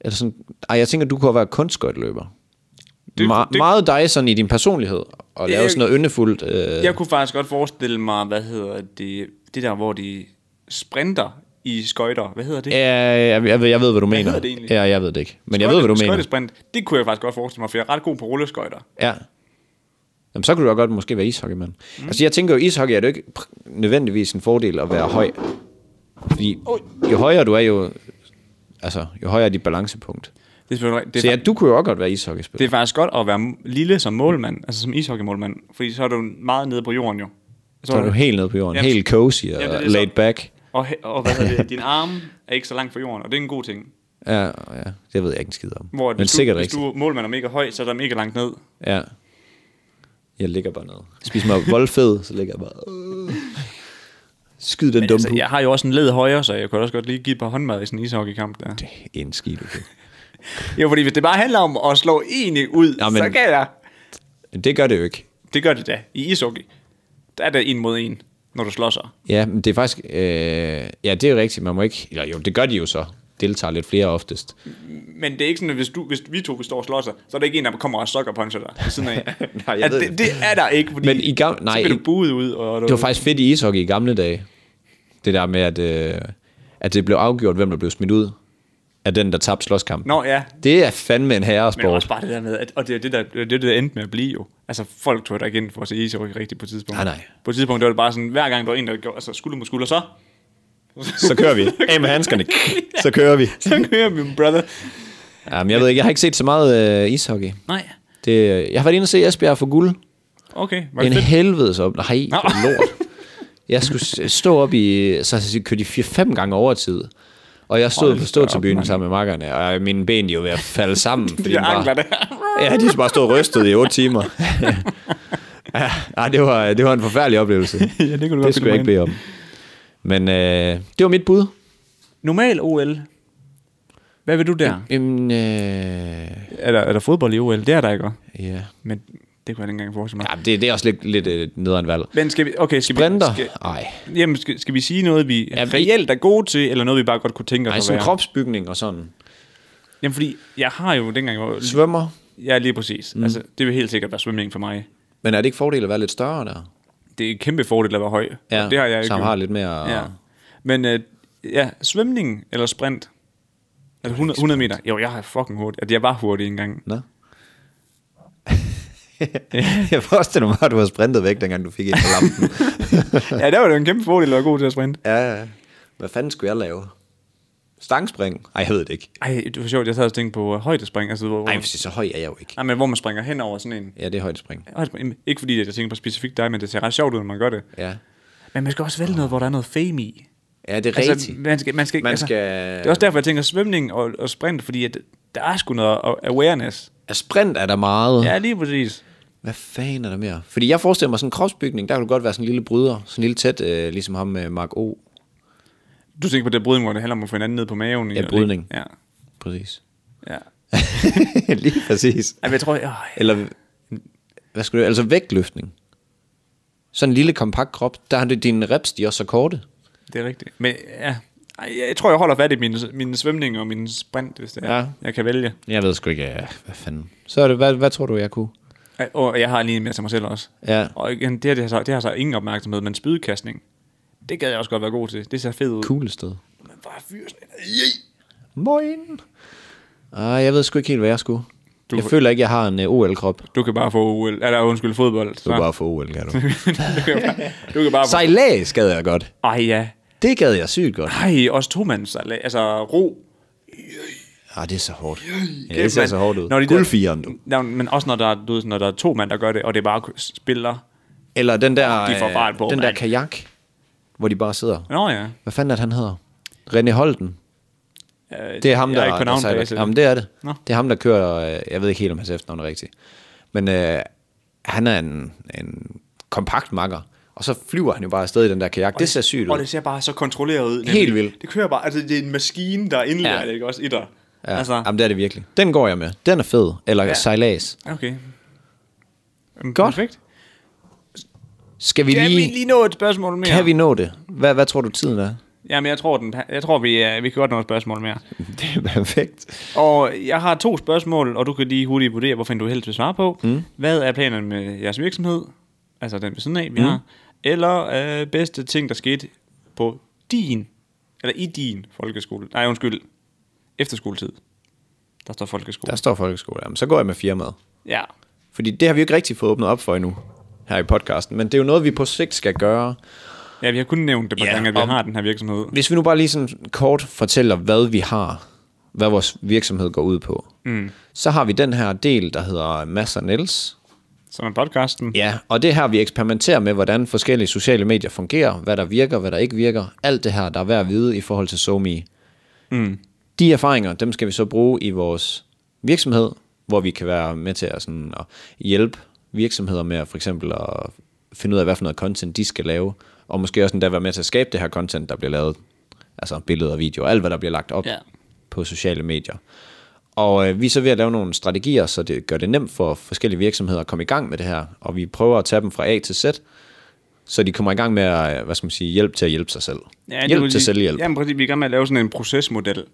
A: Eller sådan, ej, jeg tænker, du kunne være kunstskøjtløber.
B: Det-
A: Det, Me-
B: det-
A: det, meget dig sådan i din personlighed, og lave
B: jeg-
A: sådan noget yndefuldt. Øh,
B: Jeg kunne faktisk godt forestille mig, hvad hedder det, det der, hvor de sprinter i skøjter. Hvad hedder det?
A: Ja, jeg, jeg, ved, jeg ved, hvad du mener.
B: hedder det egentlig?
A: ja, jeg ved det ikke. Men jeg ved, hvad du mener.
B: Skøjtesprint, det kunne jeg faktisk godt forestille mig, for jeg er ret god på rulleskøjter.
A: Ja. Jamen, så kunne du da godt måske være ishockeymand. Mm. Altså, jeg tænker jo, ishockey er det jo ikke pr- nødvendigvis en fordel at være høj. Fordi jo højere du er, jo, altså, jo højere er dit balancepunkt.
B: Det er, selvfølgelig rigtigt. det,
A: Så
B: er,
A: ja,
B: fa-
A: du kunne jo også godt være ishockeyspiller.
B: det er faktisk godt at være m- lille som målmand, altså som ishockeymålmand, fordi så er du meget nede på jorden jo.
A: Så er du helt nede på jorden,
B: Jamen,
A: helt cozy og
B: jamen, det er
A: jamen,
B: det så.
A: laid back.
B: Og, he- og hvad hedder det, din arm er ikke så langt fra jorden, og det er en god ting.
A: Ja, ja, det ved jeg ikke en skid om.
B: Hvor at
A: Men
B: hvis,
A: sikkert
B: du, hvis
A: rigtigt.
B: du er målmand og mega høj, så er der mega langt ned.
A: Ja. Jeg ligger bare ned. Spis mig voldfed, så ligger jeg bare... øh. Skyd den
B: Men
A: dumme
B: altså,
A: altså,
B: jeg har jo også en led højre, så jeg kunne også godt lige give et par håndmad i sådan en ishockeykamp der.
A: En skid, okay.
B: Jo, fordi hvis det bare handler om at slå enig ud,
A: Nå, men-
B: så kan jeg.
A: Men det gør det jo ikke.
B: Det gør det da. I ishockey, der er der en mod en, når du slår sig.
A: Ja, men det er faktisk... Øh, ja, det er jo rigtigt. Man må ikke... Eller jo, det gør de jo så. Deltager lidt flere oftest.
B: Men det er ikke sådan, at hvis, du, hvis vi to vi står og slår sig, så er der ikke en, der kommer og sokker puncher dig ved siden af.
A: Nej, jeg ved
B: det, det, er der ikke, fordi
A: Men i gamle- nej,
B: så bliver
A: i-
B: du buet ud. Og du,
A: Det var faktisk fedt i ishockey i gamle dage. Det der med, at, øh, at det blev afgjort, hvem der blev smidt ud af den, der tabte slåskampen.
B: Nå ja,
A: Det er fandme en
B: men det var
A: herresport.
B: også bare det der med, at, og det er det, der, det, er det, der endte med at blive jo. Altså folk tog der igen for at se ishockey rigtigt på et tidspunkt.
A: Nej, Ah, nej.
B: På et tidspunkt, det var det bare sådan, hver gang der var en, der gjorde, altså skulder mod skulder, så,
A: Så kører vi. Af med handskerne. Så kører vi.
B: så kører min brother.
A: Jamen, jeg ved ikke, jeg har ikke set så meget øh, ishockey.
B: Nej,
A: Det, øh, jeg har været inde og se Esbjerg for guld.
B: Okay, var
A: en
B: det fedt?
A: helvedes op. Nej,
B: Nå.
A: for lort. Jeg skulle s- stå op i, så så kørte de 4-5 gange over tid. Og jeg stod
B: Hold
A: på
B: da
A: stå til byen
B: op, mand.
A: sammen med makkerne, og mine ben de var ved at falde sammen. fordi
B: De der
A: bare-
B: ankler der.
A: Ja, de skulle bare stå rystet i 8 timer. ja, ej, det, var, det var en forfærdelig oplevelse.
B: Ja, det kunne du godt
A: det skulle jeg ikke bede om. Men øh, det var mit bud.
B: Normal OL. Hvad vil du der?
A: Jamen, øh,
B: Er der, er der fodbold i OL? Det er der ikke, også.
A: ja.
B: Men det kunne jeg ikke engang forestille mig.
A: ja det, det er også lidt, lidt øh, nederen valg.
B: Men skal vi, okay, skal
A: Sprinter?
B: vi, skal,
A: Ej.
B: jamen, skal, skal vi sige noget, vi
A: Ja,
B: ja,
A: vi-
B: reelt er gode til, eller noget, vi bare godt kunne tænke os
A: Nej,
B: at
A: sådan
B: være?
A: kropsbygning og sådan.
B: Jamen, fordi jeg har jo dengang, hvor...
A: Svømmer.
B: Ja, lige præcis. Mm. Altså, det vil helt sikkert være svømning for mig.
A: Men er det ikke fordel at være lidt større der?
B: Det er en kæmpe fordel at være høj. og det har jeg ikke.
A: Som har lidt mere...
B: Ja. Men øh, ja, svømning eller sprint? Altså 100, 100 meter. Jo, jeg er fucking hurtig. At jeg var hurtig engang.
A: Nå. jeg forestiller mig, at du har sprintet væk, dengang du fik ind på lampen.
B: ja, der var det jo en kæmpe fordel at være god til at sprinte.
A: ja, ja. Hvad fanden skulle jeg lave? Stangspring? Ej, jeg ved det ikke.
B: Ej, det var sjovt. Jeg sad og tænkte på øh, højdespring. Altså, hvor, hvor,
A: Ej, for så høj er jeg jo ikke.
B: nej, men hvor man springer hen over sådan en.
A: Ja, det er højdespring.
B: Højdespring. Ikke fordi at jeg tænker på specifikt dig, men det ser ret sjovt ud, når man gør det.
A: Ja.
B: Men man skal også vælge noget, hvor der er noget fame i.
A: Ja, det er altså,
B: Altså,
A: rigtigt.
B: man skal, man skal,
A: Man
B: altså,
A: skal-
B: Det er også derfor, jeg tænker svømning og, og sprint, fordi at, der er sgu noget awareness.
A: Ja, Sprint er der meget. Ja.
B: Ja, lige præcis.
A: Hvad fanden er der mere? Fordi jeg forestiller mig sådan en kropsbygning, der kunne du godt være sådan en lille bryder. Sådan en lille tæt, øh, ligesom ham med Mark O.
B: Du tænker på det brydning, hvor det handler om at få hinanden ned på maven.
A: Ja, brydning.
B: Ja,
A: Præcis.
B: ja.
A: Lige præcis.
B: Ej, men jeg tror, jeg, øh,
A: Eller, hvad skulle det Altså vægtløftning. Sådan en lille kompakt krop, der har det dine reps, de er også så korte.
B: det er rigtigt. Men ja, Ej, jeg tror, jeg holder fat i min, min svømning og min sprint, hvis det er.
A: Ja.
B: Jeg kan vælge.
A: Jeg ved sgu ikke, ja, hvad fanden. Så er det, hvad, hvad tror du, jeg kunne?
B: Ej, Og jeg har lige en mere til mig selv også.
A: Ja.
B: Og igen, det her, det har, så, det har så ingen opmærksomhed, men spydkastning, det gad jeg også godt være god til. Det ser fedt ud.
A: Cool sted.
B: Men bare fyr sådan en-
A: Moin. Ah, jeg ved sgu ikke helt, hvad jeg skulle. Du... Jeg føler ikke, jeg har en uh, OL-krop.
B: Du kan bare få OL, eller undskyld, fodbold. Så.
A: få OL, kan du.
B: du, kan bare, du kan bare få...
A: Sejlads gad jeg godt.
B: Ej ja.
A: Det gad jeg sygt godt.
B: Ej, også to mands, altså ro.
A: Ah, det er så hårdt. Ja,
B: Kæft,
A: det ser
B: mand.
A: så hårdt ud.
B: Når de der-
A: Guldfireren, du.
B: Nå, men også når der, er- du ved, når der er to mand, der gør det, og det er bare spiller.
A: Eller den der,
B: De får
A: øh,
B: fart på,
A: den der
B: mand.
A: kajak, hvor de bare sidder.
B: Nå ja.
A: Hvad fanden er det, han hedder? René Holten.
B: Øh,
A: Det er ham,
B: jeg
A: der,
B: er ikke på
A: der sejler.
B: navnbasis.
A: Jamen, det er det.
B: Nå.
A: Det er ham, der kører, øh, jeg ved ikke helt, om hans efternavn er rigtigt. Men øh, han er en, en kompakt makker. Og så flyver han jo bare afsted i den der kajak. Det ser sygt
B: Og
A: ud.
B: det ser bare så kontrolleret ud. nemlig.
A: Helt vildt.
B: Det kører bare, altså det er en maskine, der indlærer
A: Ja.
B: ja. det, ikke også? I dig.
A: Ja,
B: Altså,
A: Jamen, det er det virkelig. Den går jeg med. Den er fed. Eller ja. sejlads.
B: okay. Jamen,
A: Godt.
B: Perfekt.
A: Skal vi
B: Kan vi
A: lige...
B: lige nå et spørgsmål mere?
A: Kan vi nå det? Hvad, hvad tror du, tiden er?
B: Jamen, jeg tror, den, jeg tror vi, øh, vi kan godt nå et spørgsmål mere.
A: Det er perfekt.
B: Og jeg har to spørgsmål, og du kan lige hurtigt vurdere, hvorfor du helst vil svare på. Mm. Hvad er planerne med jeres virksomhed? Altså den ved siden af, vi mm. har. Eller øh, bedste ting, der skete på din, eller i din folkeskole. Nej, undskyld. Efterskoletid. Der står folkeskole.
A: Der
B: Der.
A: står folkeskole. Jamen, så går jeg med firmaet.
B: Ja.
A: Fordi det har vi jo ikke rigtig fået åbnet op for endnu her i podcasten. Men det er jo noget, vi på sigt skal gøre.
B: Ja, vi har kun nævnt det på
A: Ja,
B: yeah, gange, at vi
A: om-
B: har den her virksomhed.
A: Hvis vi nu bare lige sådan kort fortæller, hvad vi har, hvad vores virksomhed går ud på, mm. så har vi den her del, der hedder Mads og Niels.
B: Som er podcasten. Yeah.
A: Ja, og det er her, vi eksperimenterer med, hvordan forskellige sociale medier fungerer, hvad der virker, hvad der ikke virker, alt det her, der er værd at vide i forhold til SoMe.
B: Mm.
A: De erfaringer, dem skal vi så bruge i vores virksomhed, hvor vi kan være med til at, sådan, at hjælpe virksomheder med at for eksempel at finde ud af, hvad for noget content de skal lave, og måske også endda være med til at skabe det her content, der bliver lavet, altså billeder og videoer, alt hvad der bliver lagt op
B: Ja.
A: på sociale medier. Og øh, vi er så ved at lave nogle strategier, så det gør det nemt for forskellige virksomheder at komme i gang med det her, og vi prøver at tage dem fra A til Z, så de kommer i gang med at, øh, hvad skal man sige, hjælpe til at hjælpe sig selv.
B: Ja, det
A: hjælp
B: vil
A: til
B: sige-
A: selvhjælp.
B: Jamen præcis, vi er i gang med at lave sådan en procesmodel.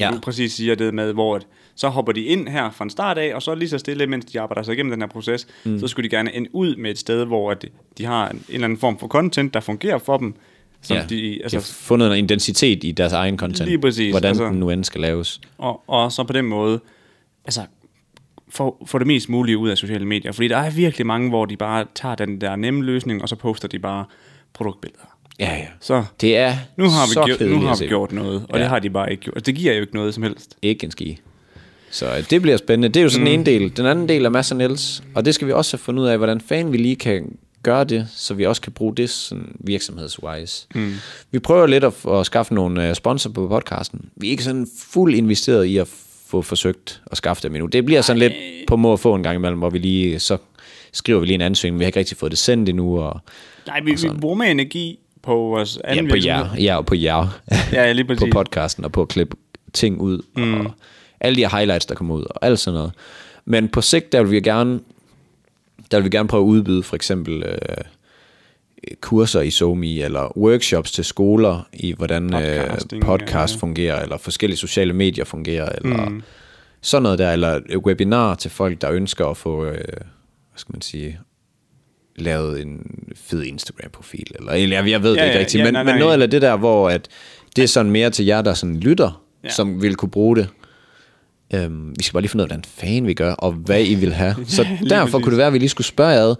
B: Ja.
A: Ja.
B: Du præcis siger det med, hvor at, så hopper de ind her fra en start af, og så lige så stille, mens de arbejder sig igennem den her proces, mm. så skulle de gerne ende ud med et sted, hvor at de har en, en eller anden form for content, der fungerer for dem, som ja. de,
A: de har
B: altså,
A: fundet en intensitet i deres egen content.
B: Lige præcis,
A: Hvordan altså.
B: altså.
A: den nu end skal laves.
B: og, og så på den måde, altså, få, få det mest mulige ud af sociale medier, fordi der er virkelig mange, hvor de bare tager den der nemme løsning, og så poster de bare produktbilleder.
A: Ja, ja.
B: Så
A: Det er
B: nu har
A: så
B: vi, gjort, nu
A: kedeligt
B: har
A: at
B: vi
A: se.
B: gjort noget, og ja. det har de bare ikke gjort. Det giver jo ikke noget som helst.
A: Ikke en ski. Så øh, det bliver spændende. Det er jo sådan mm. en del. Den anden del er Mads Niels, og det skal vi også have fundet ud af, hvordan fanden vi lige kan gøre det, så vi også kan bruge det sådan virksomhedswise. Mm. Vi prøver lidt at, at skaffe nogle øh, sponsorer på podcasten. Vi er ikke sådan fuld investeret i at få forsøgt at skaffe dem endnu. Det bliver sådan lidt på må at få en gang imellem, hvor vi lige, så skriver vi lige en ansøgning, vi har ikke rigtig fået det sendt endnu, og
B: Nej, vi, vi bruger mere energi på vores
A: ja,
B: anden
A: på
B: virksomhed.
A: jer, ja, og på jer.
B: Ja, ja, lige
A: på
B: præcis.
A: podcasten og på at klippe ting ud mm. og alle de her highlights, der kommer ud og alt sådan noget. Men på sigt, der vil vi gerne, der vil vi gerne prøve at udbyde for eksempel øh, kurser i Zomi eller workshops til skoler i, hvordan øh,
B: Podcasting,
A: podcast fungerer, eller forskellige sociale medier fungerer, eller mm. sådan noget der, eller et webinar til folk, der ønsker at få, øh, hvad skal man sige, lavet en fed Instagram-profil, eller, eller jeg, jeg ved det
B: Ja,
A: ikke
B: ja,
A: rigtigt,
B: ja,
A: men,
B: nej,
A: men
B: nej.
A: noget eller det der, hvor at det er sådan mere til jer, der sådan lytter, ja. som vil kunne bruge det. Øhm, vi skal bare lige finde ud af, hvordan fanden vi gør, og hvad I vil have. Så derfor
B: præcis.
A: kunne det være, at vi lige skulle spørge ad,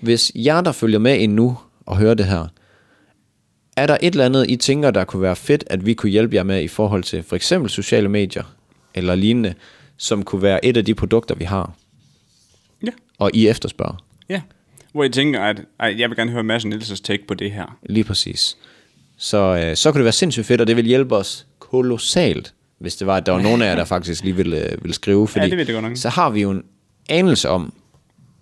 A: hvis jer, der følger med endnu og hører det her, er der et eller andet, I tænker, der kunne være fedt, at vi kunne hjælpe jer med i forhold til for eksempel sociale medier eller lignende, som kunne være et af de produkter, vi har,
B: Ja,
A: og I efterspørger?
B: ja. Hvor jeg tænker, at, at jeg vil gerne høre Mads Nielsens take på det her.
A: Lige præcis. Så, øh, så kunne det være sindssygt fedt, og det ville hjælpe os kolossalt, hvis det var, at der var nogen af jer, der faktisk lige ville, øh, ville skrive. Fordi
B: det ved jeg godt nok.
A: Så har vi jo en anelse om,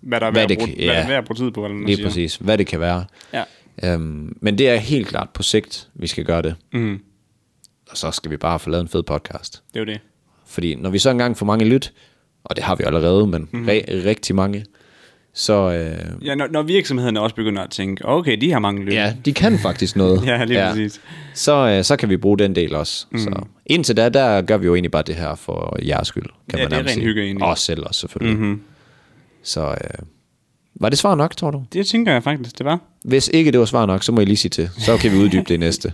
B: Hvad der er
A: Hvad
B: værd at
A: det
B: bruge,
A: kan-
B: hvad der
A: ja.
B: er værd at bruge tid på, eller man
A: lige
B: siger.
A: præcis, hvad det kan være.
B: Ja.
A: Øhm, men det er helt klart på sigt, vi skal gøre det. Mm. Og så skal vi bare få lavet en fed podcast.
B: Mm-hmm. Det er jo det.
A: Fordi når vi så engang får mange lyt, og det har vi allerede, men
B: Mhm.
A: mm. re- rigtig mange, så øh,
B: Ja, når, når virksomhederne også begynder at tænke, okay, de har mange lytter.
A: ja, de kan faktisk noget.
B: Ja, lige præcis.
A: Så, øh, så kan vi bruge den del også. Mm. Så indtil da, der gør vi jo egentlig bare det her for jeres skyld, kan
B: Ja,
A: man
B: det er
A: nærmest
B: ren
A: sige.
B: hygge egentlig. Mhm.
A: Og os selv også, selvfølgelig. Mm-hmm. Så øh, var det svar nok, tror du?
B: Det tænker jeg faktisk, det var.
A: Hvis ikke det var svar nok, så må I lige sige til. Så kan vi uddybe det i næste.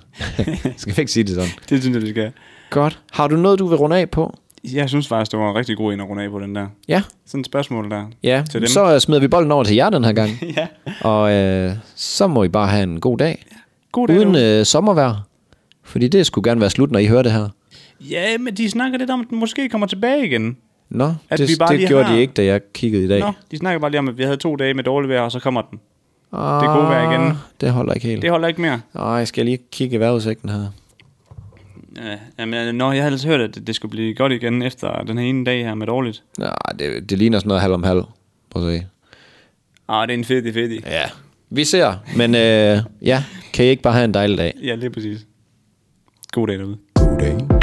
A: skal vi ikke sige det sådan?
B: Det synes jeg, vi skal.
A: Godt. Har du noget, du vil runde af på?
B: Jeg synes faktisk, det var en rigtig god en at runde af på den der.
A: Ja.
B: Sådan et spørgsmål der.
A: Ja,
B: Til dem.
A: så øh, smider vi bolden over til jer den her gang.
B: ja.
A: Og øh, så må I bare have en god dag.
B: God dag.
A: Uden
B: derude.
A: øh, sommervejr. Fordi det skulle gerne være slut, når I hører det her.
B: Ja, men de snakker lidt om, at den måske kommer tilbage igen.
A: Nå,
B: At
A: det,
B: vi bare
A: det
B: lige
A: gjorde
B: har-
A: de ikke, da jeg kiggede i dag.
B: Nå, de snakker bare lige om, at vi havde to dage med dårligt vejr, og så kommer den.
A: Ah,
B: Det kunne være igen.
A: Det holder ikke helt.
B: Det holder ikke mere.
A: Nej, skal jeg lige kigge i vejrudsigten her?
B: Ja, jamen, nå, jeg havde ellers hørt, at det- det skulle blive godt igen efter den her ene dag her med dårligt.
A: Nej, det, det ligner sådan noget halv om halv. Prøv at se.
B: Ah, det er en fed, fed.
A: Ja. Vi ser, men øh, ja, kan I ikke bare have en dejlig dag?
B: Ja, lige præcis. God dag derude.
A: God dag.